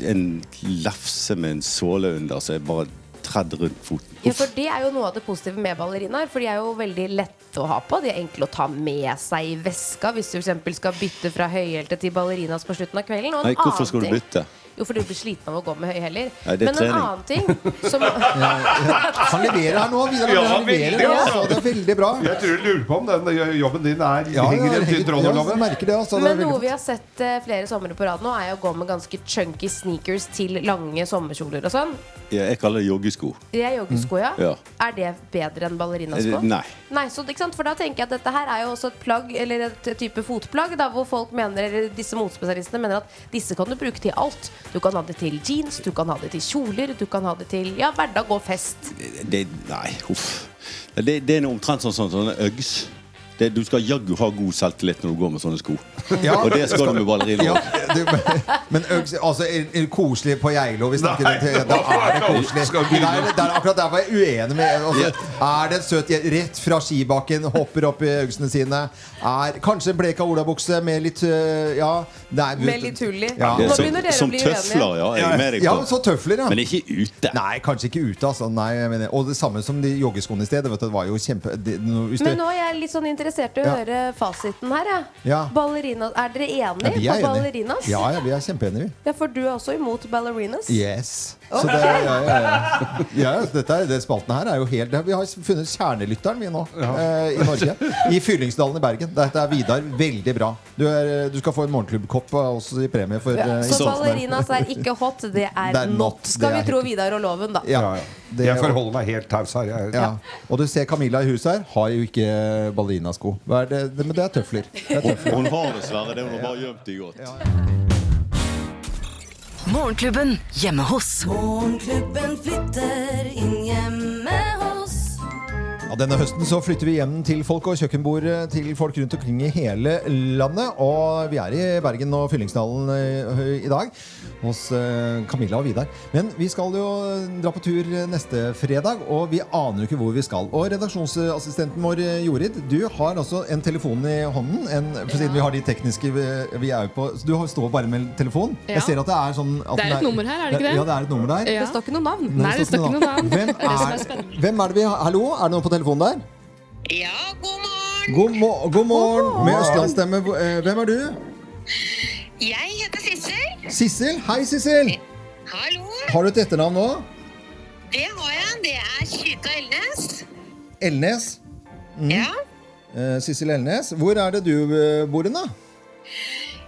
[SPEAKER 14] en lefse med en såle under, så jeg bare tredd rundt foten.
[SPEAKER 3] Ja, for Det er jo noe av det positive med ballerinaer. For de er jo veldig lette å ha på. De er enkle å ta med seg i veska hvis du for eksempel skal bytte fra høyhælte til ballerinas på slutten av kvelden. Og en
[SPEAKER 14] Nei, hvorfor
[SPEAKER 3] annen
[SPEAKER 14] skal du
[SPEAKER 3] ting-
[SPEAKER 14] bytte?
[SPEAKER 3] Jo, for du blir sliten av å gå med høye hæler.
[SPEAKER 14] Nei, det
[SPEAKER 3] Men
[SPEAKER 14] er
[SPEAKER 3] en
[SPEAKER 14] trening.
[SPEAKER 3] annen ting som
[SPEAKER 1] Han leverer her nå. Vidar
[SPEAKER 2] Ja,
[SPEAKER 1] han leverer
[SPEAKER 2] veldig,
[SPEAKER 1] nå,
[SPEAKER 2] altså.
[SPEAKER 1] altså. Det er veldig bra.
[SPEAKER 2] Jeg tror du lurer på om den jobben din er
[SPEAKER 1] Ja,
[SPEAKER 2] henger i
[SPEAKER 1] jeg
[SPEAKER 2] den tynne tråden av
[SPEAKER 1] jeg
[SPEAKER 2] loven.
[SPEAKER 1] merker det. Altså, det
[SPEAKER 3] Men
[SPEAKER 1] er veldig
[SPEAKER 3] noe vi har sett eh, flere somre på rad nå, er jo å gå med ganske chunky sneakers til lange sommerkjoler og sånn.
[SPEAKER 14] Ja, jeg kaller det joggesko.
[SPEAKER 3] Det er joggesko, ja.
[SPEAKER 14] Ja.
[SPEAKER 3] Er det bedre enn ballerinasko?
[SPEAKER 14] Eh, Nei.
[SPEAKER 3] Nei, så, ikke sant? For da tenker jeg at dette her er jo også et plagg, eller et type fotplagg, da, hvor folk mener, eller disse motspesialistene mener at disse kan du bruke til alt. Du kan ha det til jeans, du kan ha det til kjoler, du kan ha det til ja, hverdag og fest.
[SPEAKER 14] Det, nei, uff. Det, det er noe omtrent sånn, sånn, sånne Uggs. Det, du skal jaggu ha god selvtillit når du går med sånne sko.
[SPEAKER 1] Ja.
[SPEAKER 14] Og det skal du med ballerina
[SPEAKER 1] Ja,
[SPEAKER 14] òg.
[SPEAKER 1] Men Øgs, altså, er, er koselig på Geilo vi snakker om til- Da er det koselig.
[SPEAKER 2] Skal vi-
[SPEAKER 1] Der, der, er akkurat der var jeg uenig med altså, Er det en søt je- rett fra skibakken, hopper opp i øksene sine? Er kanskje en bleka olabukse med litt øh, Ja. Det er,
[SPEAKER 3] Med litt hull i.
[SPEAKER 1] Ja.
[SPEAKER 14] Det er som- som tøfler, ja. Jeg er med deg
[SPEAKER 1] Ja,
[SPEAKER 14] på.
[SPEAKER 1] så tøfler, ja.
[SPEAKER 14] Men ikke ute.
[SPEAKER 1] Nei, kanskje ikke ute. Altså. Nei, jeg mener. Og det samme som de joggeskoene i sted. Det var jo kjempe... Det, no, hvis
[SPEAKER 3] Men
[SPEAKER 1] det-
[SPEAKER 3] nå er jeg litt sånn interessert i å
[SPEAKER 1] Ja.
[SPEAKER 3] høre fasiten her. Ja.
[SPEAKER 1] Ja.
[SPEAKER 3] Ballerina, er dere
[SPEAKER 1] ja,
[SPEAKER 3] enige
[SPEAKER 1] vi er
[SPEAKER 3] på
[SPEAKER 1] enige.
[SPEAKER 3] ballerinas?
[SPEAKER 1] Ja, ja, vi er kjempeenige, vi.
[SPEAKER 3] Ja, for du er også imot ballerinas?
[SPEAKER 1] Yes. Så det, ja, ja, ja. Ja, dette er, det spalten her er jo helt Vi har funnet kjernelytteren vi nå eh, i Norge. I Fyllingsdalen i Bergen. Dette er Vidar. Veldig bra. Du, er, eh, du skal få en morgenklubbkopp av oss i premie for
[SPEAKER 10] Ja,
[SPEAKER 1] eh,
[SPEAKER 10] så
[SPEAKER 1] innsatsen der.
[SPEAKER 10] ballerinas er ikke hot, det er,
[SPEAKER 1] Det er
[SPEAKER 10] not,
[SPEAKER 1] not,
[SPEAKER 10] skal
[SPEAKER 1] det
[SPEAKER 10] vi
[SPEAKER 1] er
[SPEAKER 10] tro Vidar og Loven, da.
[SPEAKER 1] Ja, det-
[SPEAKER 2] Jeg forholder meg helt taus her. Jeg,
[SPEAKER 1] Ja. Og du ser Camilla i huset her. Har jo ikke ballerinasko. Hva er det? det- Men det er tøfler. Det er tøfler.
[SPEAKER 14] Hun har dessverre det. Hun har bare gjemt det godt.
[SPEAKER 15] Morgenklubben hjemme hos.
[SPEAKER 5] Morgenklubben flytter inn hjemme hos.
[SPEAKER 1] Ja, denne høsten så flytter vi hjem til folk og kjøkkenbord eh, til folk rundt omkring i hele landet. Og vi er i Bergen og Fyllingsdalen eh, i dag hos eh, Camilla og Vidar. Men vi skal jo dra på tur neste fredag, og vi aner jo ikke hvor vi skal. Og redaksjonsassistenten vår eh, Jorid, du har altså en telefon i hånden. En, for siden vi har de tekniske vi, vi er jo på, så du har- står bare med telefon.
[SPEAKER 16] Ja.
[SPEAKER 1] Jeg ser at det er sånn at
[SPEAKER 16] Det er
[SPEAKER 1] den
[SPEAKER 16] et nummer her, er det ikke det?
[SPEAKER 1] Ja, det er et nummer der.
[SPEAKER 16] Ja. Det står
[SPEAKER 10] ikke noe navn.
[SPEAKER 16] Nei, det står ikke noe navn.
[SPEAKER 1] Hvem
[SPEAKER 16] Det er det som er
[SPEAKER 1] er,
[SPEAKER 16] spennende.
[SPEAKER 1] hvem er det vi har? Hallo, er det noen på telefonen der? God, mo god morgen med østlandsstemme. Hvor- eh, Hvem er du?
[SPEAKER 17] Jeg heter Sissel.
[SPEAKER 1] Sissel. Hei, Sissel.
[SPEAKER 17] Hallo.
[SPEAKER 1] Har du et etternavn nå?
[SPEAKER 17] Det har jeg. Det er Kyrta Elnes.
[SPEAKER 1] Elnes? Ja. Sissel Elnes. Hvor er det du eh, bor hen, da?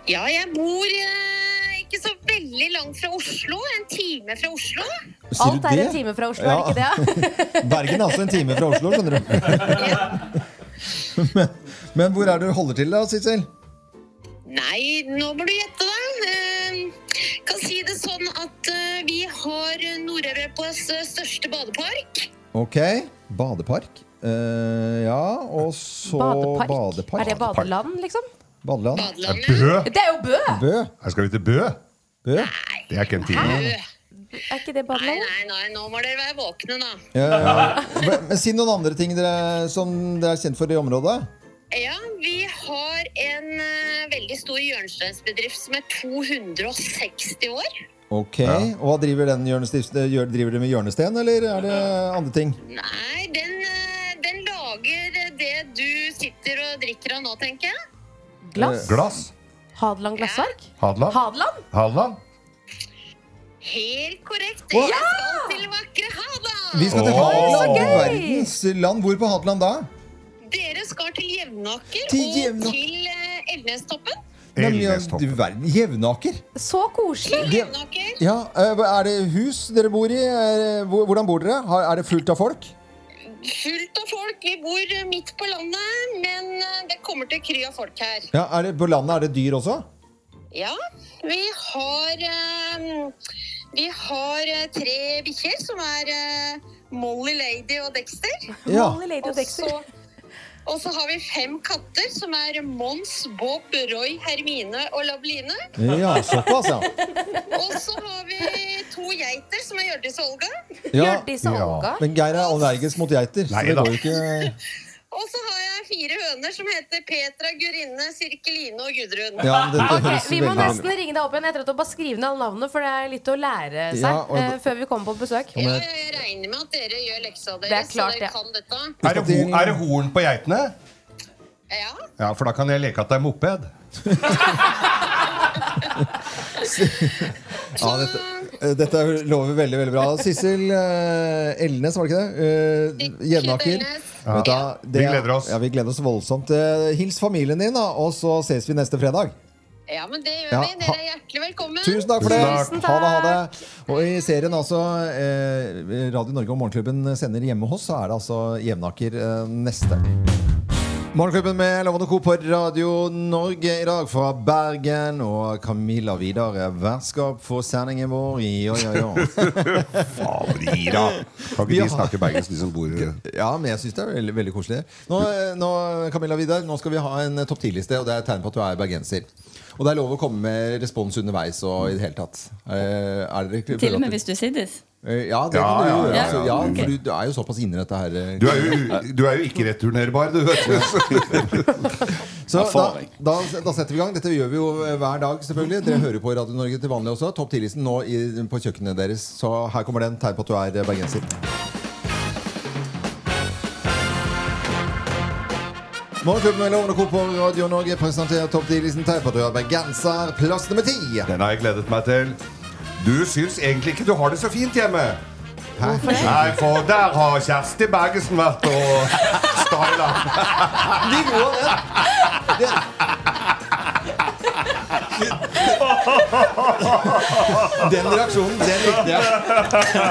[SPEAKER 17] Ja, jeg bor eh, ikke så veldig langt fra Oslo. En time fra Oslo.
[SPEAKER 1] Sier du
[SPEAKER 10] Alt er
[SPEAKER 1] det?
[SPEAKER 10] en time fra Oslo,
[SPEAKER 1] Ja.
[SPEAKER 10] er det ikke det?
[SPEAKER 1] Bergen er altså en time fra Oslo, skjønner du. men, men hvor er det du holder til, da, Sissel?
[SPEAKER 17] Nei, nå må du gjette, da. Eh, Kan si det sånn at eh, vi har Nord-Europas største badepark.
[SPEAKER 1] Ok. Badepark. Eh, ja, og så
[SPEAKER 10] Badepark?
[SPEAKER 1] badepark.
[SPEAKER 10] Er det badeland, liksom?
[SPEAKER 1] Badeland.
[SPEAKER 10] Det er jo Bø!
[SPEAKER 1] Bø.
[SPEAKER 2] Skal vi til Bø?
[SPEAKER 1] Bø?
[SPEAKER 2] Det er ikke en
[SPEAKER 10] Hæ?
[SPEAKER 2] time.
[SPEAKER 10] Er ikke det badeland?
[SPEAKER 17] Nei, nei, nå må dere være våkne, da.
[SPEAKER 1] Ja, ja. Eh, Men- Men si noen andre ting dere, som dere er kjent for i området.
[SPEAKER 17] Ja, vi har en eh, veldig stor hjørnesteinsbedrift som er 260 år.
[SPEAKER 1] Ok, og hva driver den hjørnestifts- eh, gjør- Driver dere med hjørnesten, eller er det andre ting?
[SPEAKER 17] Nei, den, eh, den lager det du sitter og drikker av nå, tenker jeg.
[SPEAKER 10] Glass?
[SPEAKER 2] Glass.
[SPEAKER 10] Hadeland glassverk?
[SPEAKER 2] Hadeland.
[SPEAKER 10] Hadeland?
[SPEAKER 2] Hadeland.
[SPEAKER 17] Helt korrekt.
[SPEAKER 1] Wow!
[SPEAKER 17] Jeg skal til vakre Hadeland.
[SPEAKER 1] Vi skal til
[SPEAKER 2] Åh!
[SPEAKER 1] Hadeland,
[SPEAKER 2] Så gøy!
[SPEAKER 1] verdens land. Hvor på Hadeland da?
[SPEAKER 17] Dere skal til Jevnaker
[SPEAKER 1] Til
[SPEAKER 17] og
[SPEAKER 1] Jevnaker.
[SPEAKER 17] til eh, Elnestoppen.
[SPEAKER 1] Nemlig, ja, Du verden. Jevnaker.
[SPEAKER 10] Så koselig!
[SPEAKER 1] Det- Ja, eh, hva- Er det hus dere bor i? Er det- hvor- Hvordan bor dere? Har- Er det fullt av folk?
[SPEAKER 17] Fullt av folk. Vi bor eh, midt på landet, men eh, det kommer til å kry av folk her.
[SPEAKER 1] Ja, er det, På landet er det dyr også?
[SPEAKER 17] Ja, vi har eh, Vi har eh, tre bikkjer som er eh, Molly, Lady og Dexter.
[SPEAKER 1] Ja.
[SPEAKER 10] Molly, Lady og Dexter.
[SPEAKER 17] så- Og så har vi fem katter som er Mons, Bob, Roy, Hermine og Labeline.
[SPEAKER 1] Ja, såpass, ja.
[SPEAKER 17] Og så har vi to geiter som er Hjørdis og Olga.
[SPEAKER 1] Ja. Ja. Men Geir er allergisk mot geiter, så det går jo ikke
[SPEAKER 17] Og så har jeg fire høner som heter Petra, Gurinne, Sirkeline og Gudrun.
[SPEAKER 1] Ja, men dette
[SPEAKER 10] Ok,
[SPEAKER 1] høres
[SPEAKER 10] vi må
[SPEAKER 1] veldig
[SPEAKER 10] nesten ringe deg opp igjen. Jeg tror at å bare skrive ned alle navnene, for det er litt å lære seg
[SPEAKER 1] Ja, og-
[SPEAKER 10] eh, før vi kommer på besøk.
[SPEAKER 1] Ja, men-
[SPEAKER 17] Jeg regner med at dere gjør leksa
[SPEAKER 10] Det er
[SPEAKER 17] deres, så
[SPEAKER 10] klart,
[SPEAKER 17] dere
[SPEAKER 10] det.
[SPEAKER 17] kan dette.
[SPEAKER 2] Er det, ho er det horn på geitene? Ja. ja. For da kan jeg leke at det er moped.
[SPEAKER 1] Ja, dette, eh, dette lover veldig veldig bra. Sissel eh, Elnes, var det ikke det? Eh, Jevnaker.
[SPEAKER 2] Ja.
[SPEAKER 1] Vet du hva, det
[SPEAKER 2] Vi
[SPEAKER 1] er-
[SPEAKER 2] gleder oss.
[SPEAKER 1] Ja, vi gleder oss voldsomt. Eh, Hils familien din, da, og så ses vi neste fredag.
[SPEAKER 17] Ja, men det gjør
[SPEAKER 1] Ja,
[SPEAKER 17] vi. Dere er hjertelig velkommen.
[SPEAKER 1] Tusen takk for det!
[SPEAKER 17] Tusen takk.
[SPEAKER 1] Ha det, ha det. Og i serien altså, eh, Radio Norge og Morgenklubben sender hjemme hos, så er det altså Jevnaker eh, neste. Morgenklubben med Lovende Co. på Radio Norge i dag fra Bergen. Og Camilla Vidar er vertskap for sendingen vår i Oi, oi, oi.
[SPEAKER 2] Ira. Kan ikke
[SPEAKER 1] Ja.
[SPEAKER 2] de snakke bergensk, de som bor i
[SPEAKER 1] Ja, men jeg syns det er veldig, veldig koselig. Nå, eh, nå, Camilla Vidar, nå skal vi ha en eh, topp 10-liste, og det er et tegn på at du er bergenser. Og det er lov å komme med respons underveis og i det hele tatt. Eh, Er dere ikke-
[SPEAKER 18] Til og med hvis du siddes.
[SPEAKER 1] Eh, Ja, det
[SPEAKER 2] Ja,
[SPEAKER 1] kan
[SPEAKER 2] ja,
[SPEAKER 1] du jo gjøre.
[SPEAKER 2] ja,
[SPEAKER 1] altså.
[SPEAKER 2] ja,
[SPEAKER 1] Ja,
[SPEAKER 2] ok.
[SPEAKER 1] for du, du er jo såpass inne i dette her. eh,
[SPEAKER 2] Du er jo, du er jo ikke returnerbar, du vet.
[SPEAKER 1] Så da,
[SPEAKER 2] Erfaring.
[SPEAKER 1] da, da setter vi i gang. Dette gjør vi jo eh, hver dag, selvfølgelig. Dere hører på Radio Norge til vanlig også. Topp 10-listen nå i, på kjøkkenet deres. Så her kommer den. Tegn på at du er eh, bergenser. Morgenklubben med Lovende Co. på Radio Norge presenterer topp 10-listen tegn på at du er bergenser. Plass nummer ti.
[SPEAKER 2] Den har jeg gledet meg til. Du syns egentlig ikke du har det så fint hjemme. Hæ?
[SPEAKER 1] Hvorfor det?
[SPEAKER 2] Nei, for der har Kjersti Bergesen vært og styla. De gode,
[SPEAKER 1] Den reaksjonen, den likte jeg.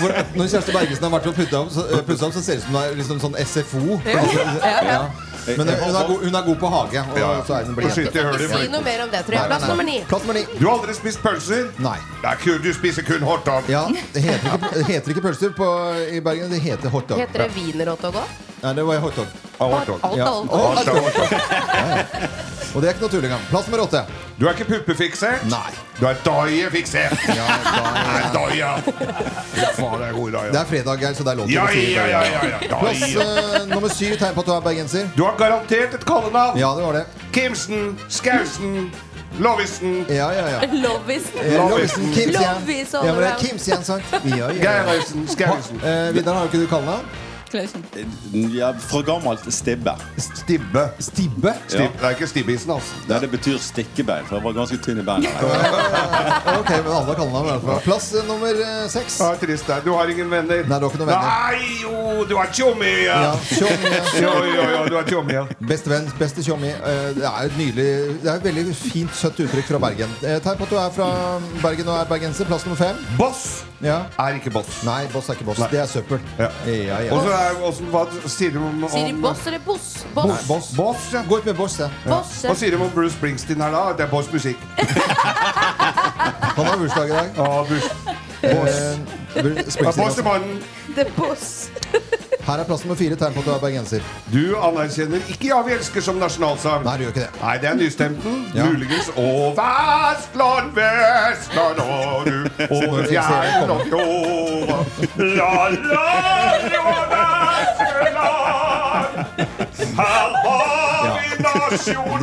[SPEAKER 1] For når Kjersti Bergesen har vært og putta opp, så, eh, pusset opp, så ser det ut som det er liksom sånn SFO.
[SPEAKER 3] ja, ja.
[SPEAKER 1] Men eh, hun er, god, hun er god på hage. Og,
[SPEAKER 2] Ja.
[SPEAKER 1] så er hun
[SPEAKER 2] Og skyter i høl i
[SPEAKER 3] Si noe mer om det, tror
[SPEAKER 1] Nei, nei,
[SPEAKER 3] jeg. Plass
[SPEAKER 1] nei.
[SPEAKER 3] nummer ni.
[SPEAKER 1] Plass nummer ni.
[SPEAKER 2] Du har aldri spist pølser?
[SPEAKER 1] Nei.
[SPEAKER 2] Det er kun, du spiser kun hotdog.
[SPEAKER 1] Ja, det heter ikke, det heter ikke pølser på, i Bergen, det heter hotdog.
[SPEAKER 3] Heter det wienerhotdog òg?
[SPEAKER 1] Nei, det var hotdog.
[SPEAKER 3] Alt,
[SPEAKER 1] Ja.
[SPEAKER 3] alt,
[SPEAKER 1] Å,
[SPEAKER 3] alt.
[SPEAKER 1] hotdog. Ja, ja. Og det er ikke noe tull engang. Plass nummer åtte.
[SPEAKER 2] Du er ikke puppefiksert?
[SPEAKER 1] Nei.
[SPEAKER 2] Du er daiefiksert. Ja, daia. Fy faen, det er god daia.
[SPEAKER 1] Det er fredag her, så det er lov til
[SPEAKER 2] Ja,
[SPEAKER 1] å si
[SPEAKER 2] ja, ja, ja, ja. Da-
[SPEAKER 1] Plass eh, nummer syv, tegn på at du er bergenser.
[SPEAKER 2] Du har garantert et kallenavn.
[SPEAKER 1] Ja, det var det.
[SPEAKER 2] Kimsen, Skausen, Lovisen.
[SPEAKER 1] Ja, ja, ja.
[SPEAKER 3] Lovis.
[SPEAKER 1] Eh, Lovisen, Kims igjen.
[SPEAKER 3] Lovis
[SPEAKER 1] Ja, men det er
[SPEAKER 3] overalt.
[SPEAKER 1] Kims igjen, sang. Ja, ja, ja.
[SPEAKER 2] Geirausen, Skausen.
[SPEAKER 1] Eh, Vidar, har du ikke du kallenavn?
[SPEAKER 14] Ja, fra gammelt stibbe.
[SPEAKER 2] Stibbe.
[SPEAKER 1] Stibbe?
[SPEAKER 14] Ja.
[SPEAKER 2] Det er ikke stibbisen, altså.
[SPEAKER 14] Nei, det betyr stikkebein, for jeg var ganske tynn i beina.
[SPEAKER 1] Ok, men alle har kallenavn. i hvert fall. Plass eh, nummer eh, seks.
[SPEAKER 2] Ja, trist det er. Du har ingen venner.
[SPEAKER 1] Nei, du har ikke noen venner.
[SPEAKER 2] Nei, jo, du er tjommi! Ja.
[SPEAKER 1] Ja, tjommi, ja.
[SPEAKER 2] Jo, jo, jo, du er tjommi, ja.
[SPEAKER 1] Beste venn, beste tjommi. Eh, Det er et nydelig Det er et veldig fint, søtt uttrykk fra Bergen. Eh, Tegn på at du er fra Bergen og er bergenser. Plass nummer fem.
[SPEAKER 2] Boss
[SPEAKER 1] Ja.
[SPEAKER 2] er ikke boss.
[SPEAKER 1] Nei, boss er ikke boss. Det er søppel.
[SPEAKER 2] Ja.
[SPEAKER 1] Ja, ja.
[SPEAKER 2] Og så er også, hva sier de om, om
[SPEAKER 3] Sier de boss eller boss?
[SPEAKER 1] Nei,
[SPEAKER 3] Boss.
[SPEAKER 1] boss.
[SPEAKER 2] Boss, ja.
[SPEAKER 1] Gå ut med boss, ja.
[SPEAKER 3] Boss.
[SPEAKER 2] Hva sier de om Bruce Springsteen her, da? Det er bossmusikk.
[SPEAKER 1] Han har bursdag i dag.
[SPEAKER 2] Ja, Bruce. Boss.
[SPEAKER 1] Eh,
[SPEAKER 2] Ja,
[SPEAKER 1] Bruce
[SPEAKER 2] boss i
[SPEAKER 1] Springsteen. altså.
[SPEAKER 2] mannen.
[SPEAKER 3] The boss.
[SPEAKER 1] Her er plass nummer fire. Tegn på at du er bergenser.
[SPEAKER 2] Du anerkjenner ikke 'Ja, vi elsker' som nasjonalsang.
[SPEAKER 1] Nei, du gjør ikke det.
[SPEAKER 2] Nei, det er nystemten.
[SPEAKER 1] Ja.
[SPEAKER 2] Muligens Å, Vestland, Vestland, og du over fjæren og fjorden. La, la, la, Vestland. Her har vi nasjonal...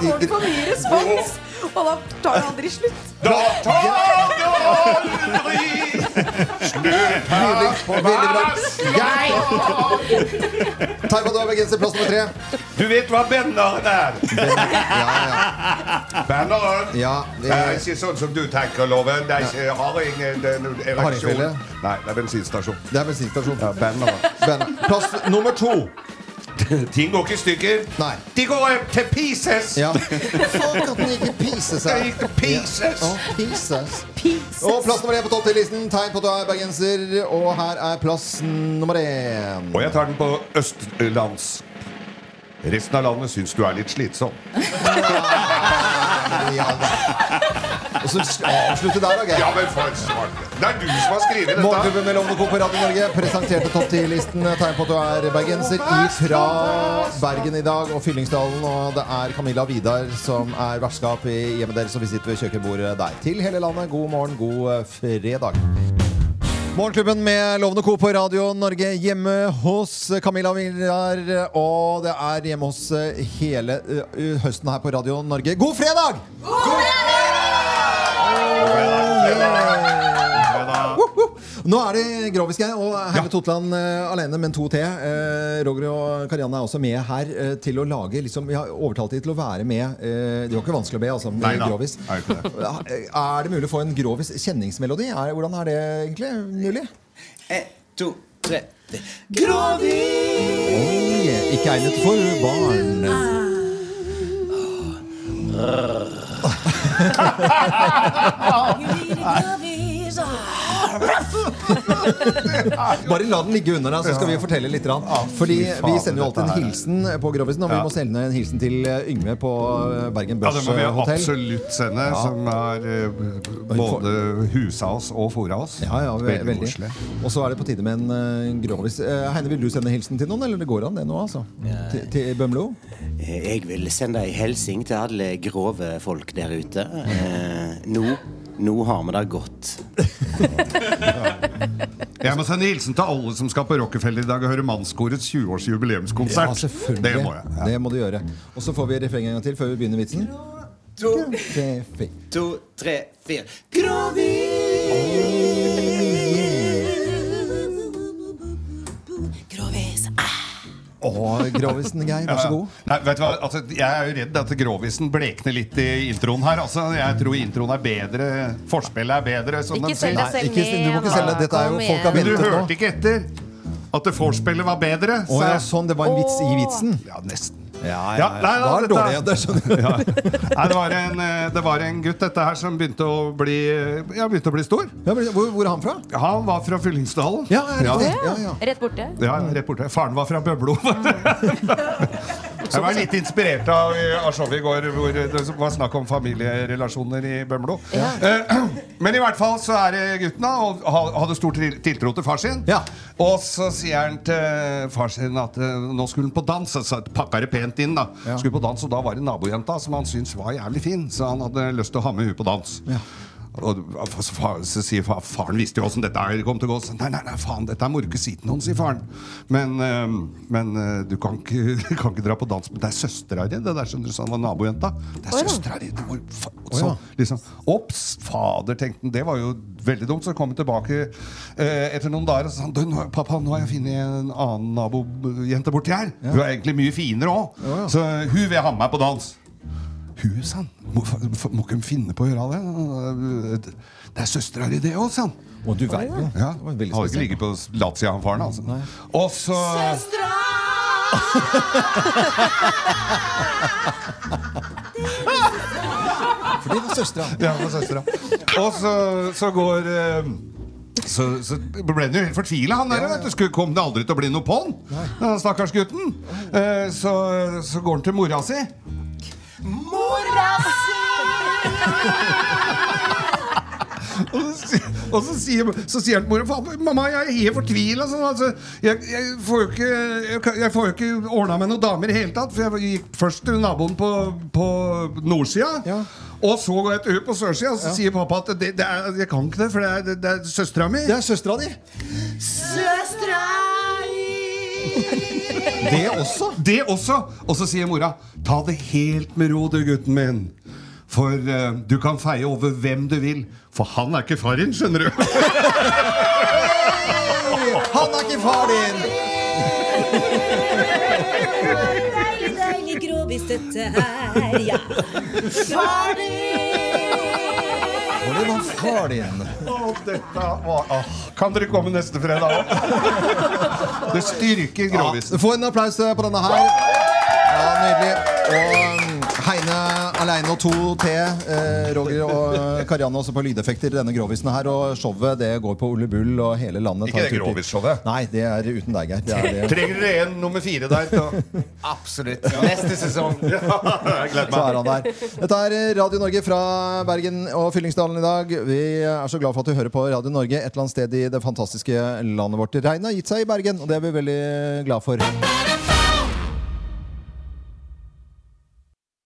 [SPEAKER 1] Det- det-
[SPEAKER 5] For mye respons, og da tar det aldri slutt.
[SPEAKER 2] Da tar det aldri slutt her
[SPEAKER 1] Nydelig.
[SPEAKER 2] på
[SPEAKER 1] Veldig bra.
[SPEAKER 2] Vestland.
[SPEAKER 1] Tegn på at du er bergenser. Plass nummer tre.
[SPEAKER 2] Du vet hva benderen er?
[SPEAKER 1] Ja,
[SPEAKER 2] Benderen.
[SPEAKER 1] ja. ja
[SPEAKER 2] Det er
[SPEAKER 1] det,
[SPEAKER 2] ikke sånn som du tenker, Loven. Det er ikke, jeg har ingen det er noen ereksjon.
[SPEAKER 1] Hardingfelle?
[SPEAKER 2] Nei, det er bensinstasjon.
[SPEAKER 1] det er bensinstasjon.
[SPEAKER 2] Ja, bandet, da.
[SPEAKER 1] Bandet. Plass nummer to.
[SPEAKER 2] Ting går ikke i stykker.
[SPEAKER 1] Nei.
[SPEAKER 2] De går eh, til pieces!
[SPEAKER 1] Ja. Fuck at den gikk i pieces her.
[SPEAKER 2] Det gikk i pieces.
[SPEAKER 1] Ja. Å, pieces.
[SPEAKER 3] Pieces.
[SPEAKER 1] Og plass nummer én på topp 10-listen. Tegn på at du er bergenser. Og her er plass nummer én.
[SPEAKER 2] Og jeg tar den på østlands. Resten av landet syns du er litt slitsom.
[SPEAKER 1] Ja, da. og så avslutte der, da,
[SPEAKER 2] Ja,
[SPEAKER 1] Geir.
[SPEAKER 2] men for en svart Det er du som har skrevet dette.
[SPEAKER 1] Morgenklubben med Lovende Co. på Radio Norge presenterte topp 10-listen. Tegn på at du er bergenser ifra Bergen i dag og Fyllingsdalen. Og det er Camilla og Vidar som er vertskap i hjemmet deres, og vi sitter ved kjøkkenbordet der. Til hele landet, god morgen, god eh, fredag. Morgenklubben med Lovende Co på Radio Norge hjemme hos Camilla Villar. Og det er hjemme hos eh, hele eh, høsten her på Radio Norge. God fredag! Woho! Nå er det Grovis jeg og Herre Totland eh, alene, men to til. Eh, Roger og Karianne er også med her eh, til å lage liksom, Vi har overtalt de til å være med. Eh, det var ikke vanskelig å be, altså. Med
[SPEAKER 2] Nei da,
[SPEAKER 1] Grovis.
[SPEAKER 2] er det ikke det.
[SPEAKER 1] Ja, eh, Er det mulig å få en Grovis kjenningsmelodi? Er, hvordan er det egentlig mulig?
[SPEAKER 19] En, to, tre.
[SPEAKER 1] Oi, ikke egnet for barn. Bare la den ligge under deg, så skal vi fortelle litt. grann.
[SPEAKER 2] Ah,
[SPEAKER 1] Fordi vi sender jo alltid en hilsen på Grovisen, og vi må sende en hilsen til eh, Yngve på eh, Bergen
[SPEAKER 2] Ja, det
[SPEAKER 1] Børs
[SPEAKER 2] må vi
[SPEAKER 1] Hotell.
[SPEAKER 2] absolutt sende, som har eh, både husa oss og fora oss.
[SPEAKER 1] Ja, ja, ve
[SPEAKER 2] Veldig
[SPEAKER 1] veldig.
[SPEAKER 2] koselig.
[SPEAKER 1] Og så er det på tide med en eh, grovis. Eh, Heine, vil du sende hilsen til noen, eller det går an det nå, altså? Til, til Bømlo?
[SPEAKER 18] Eh, Jeg vil sende ei hilsen til alle grove folk der ute. Eh, nå, nå har vi det godt.
[SPEAKER 2] Jeg må sende hilsen til alle som skal på Rockefeller i dag og høre Mannskorets 20-års jubileumskonsert.
[SPEAKER 1] Ja, selvfølgelig.
[SPEAKER 2] det må jeg. Ja.
[SPEAKER 1] Det må du gjøre. Og så får vi refrenget en gang til før vi begynner vitsen.
[SPEAKER 19] To,
[SPEAKER 1] Det er fint.
[SPEAKER 19] to, tre, fire. Grovis!
[SPEAKER 1] Åh, Grovisen, Geir. Vær så god.
[SPEAKER 2] Nei, vet du hva? Altså, jeg er jo redd at grovisen blekner litt i introen her. Altså, jeg tror introen er bedre. Forspillet er bedre. som
[SPEAKER 1] Ikke
[SPEAKER 2] de sier.
[SPEAKER 1] selg deg Nei, selv ikke- du må ikke ned, selge deg. Dette er jo- da. folk har
[SPEAKER 2] Men du
[SPEAKER 1] ventet nå.
[SPEAKER 2] hørte ikke etter at det vorspielet var bedre.
[SPEAKER 1] Å ja, sånn. Det var en vits i vitsen?
[SPEAKER 2] Ja, nesten.
[SPEAKER 1] Ja,
[SPEAKER 2] Ja, nei,
[SPEAKER 1] Da er det
[SPEAKER 2] dette-
[SPEAKER 1] dårlig. ja, Det skjønner jeg.
[SPEAKER 2] Nei, det, var en, eh, det var en gutt dette her som begynte å bli, eh, ja, begynte å bli stor.
[SPEAKER 1] hvor, er han fra?
[SPEAKER 2] Han var fra Fyllingsdalen.
[SPEAKER 3] Ja.
[SPEAKER 2] ja.
[SPEAKER 3] Rett borte.
[SPEAKER 2] Ja, rett borte. Faren var fra Bøblo. Jeg var litt inspirert av, eh, av showet i går hvor det var snakk om familierelasjoner i Bømlo. Eh, Men i hvert fall så er det gutten, da, og ha- hadde stor til- tiltro til far sin. Og så sier han til far sin at eh, nå skulle han på dans. Så sa- pakka det pent inn, da. Skulle på dans, Og da var det nabojenta som han syntes var jævlig fin, så han hadde lyst til å ha med henne på dans. Og så, fa- så sier fa- Faren visste jo åssen dette her kom til å gå. Så, nei, nei, nei, faen, dette er morgesiten hans, sier faren. Men, eh, men eh, du kan ikke, du kan ikke dra på dans. Men det er søstera di, det der, skjønner du, så han var nabojenta. Det er søstera di. du må- fa- Så, liksom, Ops! Fader, tenkte han. Det var jo veldig dumt. Så kom han tilbake eh, etter noen dager og sa han, «Du, nå- pappa, nå har jeg funnet en annen nabojente borti her. Hun er egentlig mye finere òg. Så hun vil ha med meg på dans. Hun, sa han. Må, f- må ikke hun finne på å gjøre det? Det er søstera di, det òg, sa han.
[SPEAKER 1] Og du verden.
[SPEAKER 2] Ja. Har ikke ligget på latsida, han faren, altså. Og så
[SPEAKER 1] For det var søstera.
[SPEAKER 2] Ja, det var søstera. Og så, så går eh, så, så ble han jo helt fortvila, han der. vet du. Skulle- Kom det aldri til å bli noe på han? Den stakkars gutten. Eh, Så, så går han til mora si.
[SPEAKER 5] Mora
[SPEAKER 2] Og så, si- og så sier, så sier han til mora «Faen, Mamma, jeg er helt fortvila. Sånn, altså, jeg, jeg får jo ikke, jeg kan- jeg får jo ikke ordna med noen damer i det hele tatt. For jeg gikk først til naboen på, på nordsida. Og så går jeg til hun på sørsida, og så sier pappa at det, det er, jeg kan ikke det, for det er, det, det er søstera mi.
[SPEAKER 1] Det er søstera di.
[SPEAKER 5] Søstera
[SPEAKER 2] Det også? Det også. Og så sier mora Ta det helt med ro, du gutten min. For eh, du kan feie over hvem du vil. For han er ikke far din, skjønner du.
[SPEAKER 1] Han er ikke far din!
[SPEAKER 5] Deilig, deilig grovis dette her, ja. Far din!
[SPEAKER 1] Og det var far din.
[SPEAKER 2] Å, dette var ah, Kan dere komme neste fredag også? Det styrker grovisen.
[SPEAKER 1] Få en applaus eh, på denne her. Ja, Nydelig. Og um, Heine aleine og 2T, eh, Roger og eh, Karianne også på lydeffekter i denne grovisen her. Og showet det går på Ole Bull og hele landet.
[SPEAKER 2] Ikke det
[SPEAKER 1] tar en tur til.
[SPEAKER 2] grovisshowet.
[SPEAKER 1] Nei, det er uten deg, Geir. Det er det.
[SPEAKER 2] Trenger dere en nummer fire der? til å-
[SPEAKER 20] Absolutt. Neste sesong.
[SPEAKER 2] Jeg gleder
[SPEAKER 1] Så er han
[SPEAKER 2] meg.
[SPEAKER 1] der. Dette er Radio Norge fra Bergen og Fyllingsdalen i dag. Vi er så glad for at du hører på Radio Norge et eller annet sted i det fantastiske landet vårt. Regnet har gitt seg i Bergen, og det er vi veldig glad for.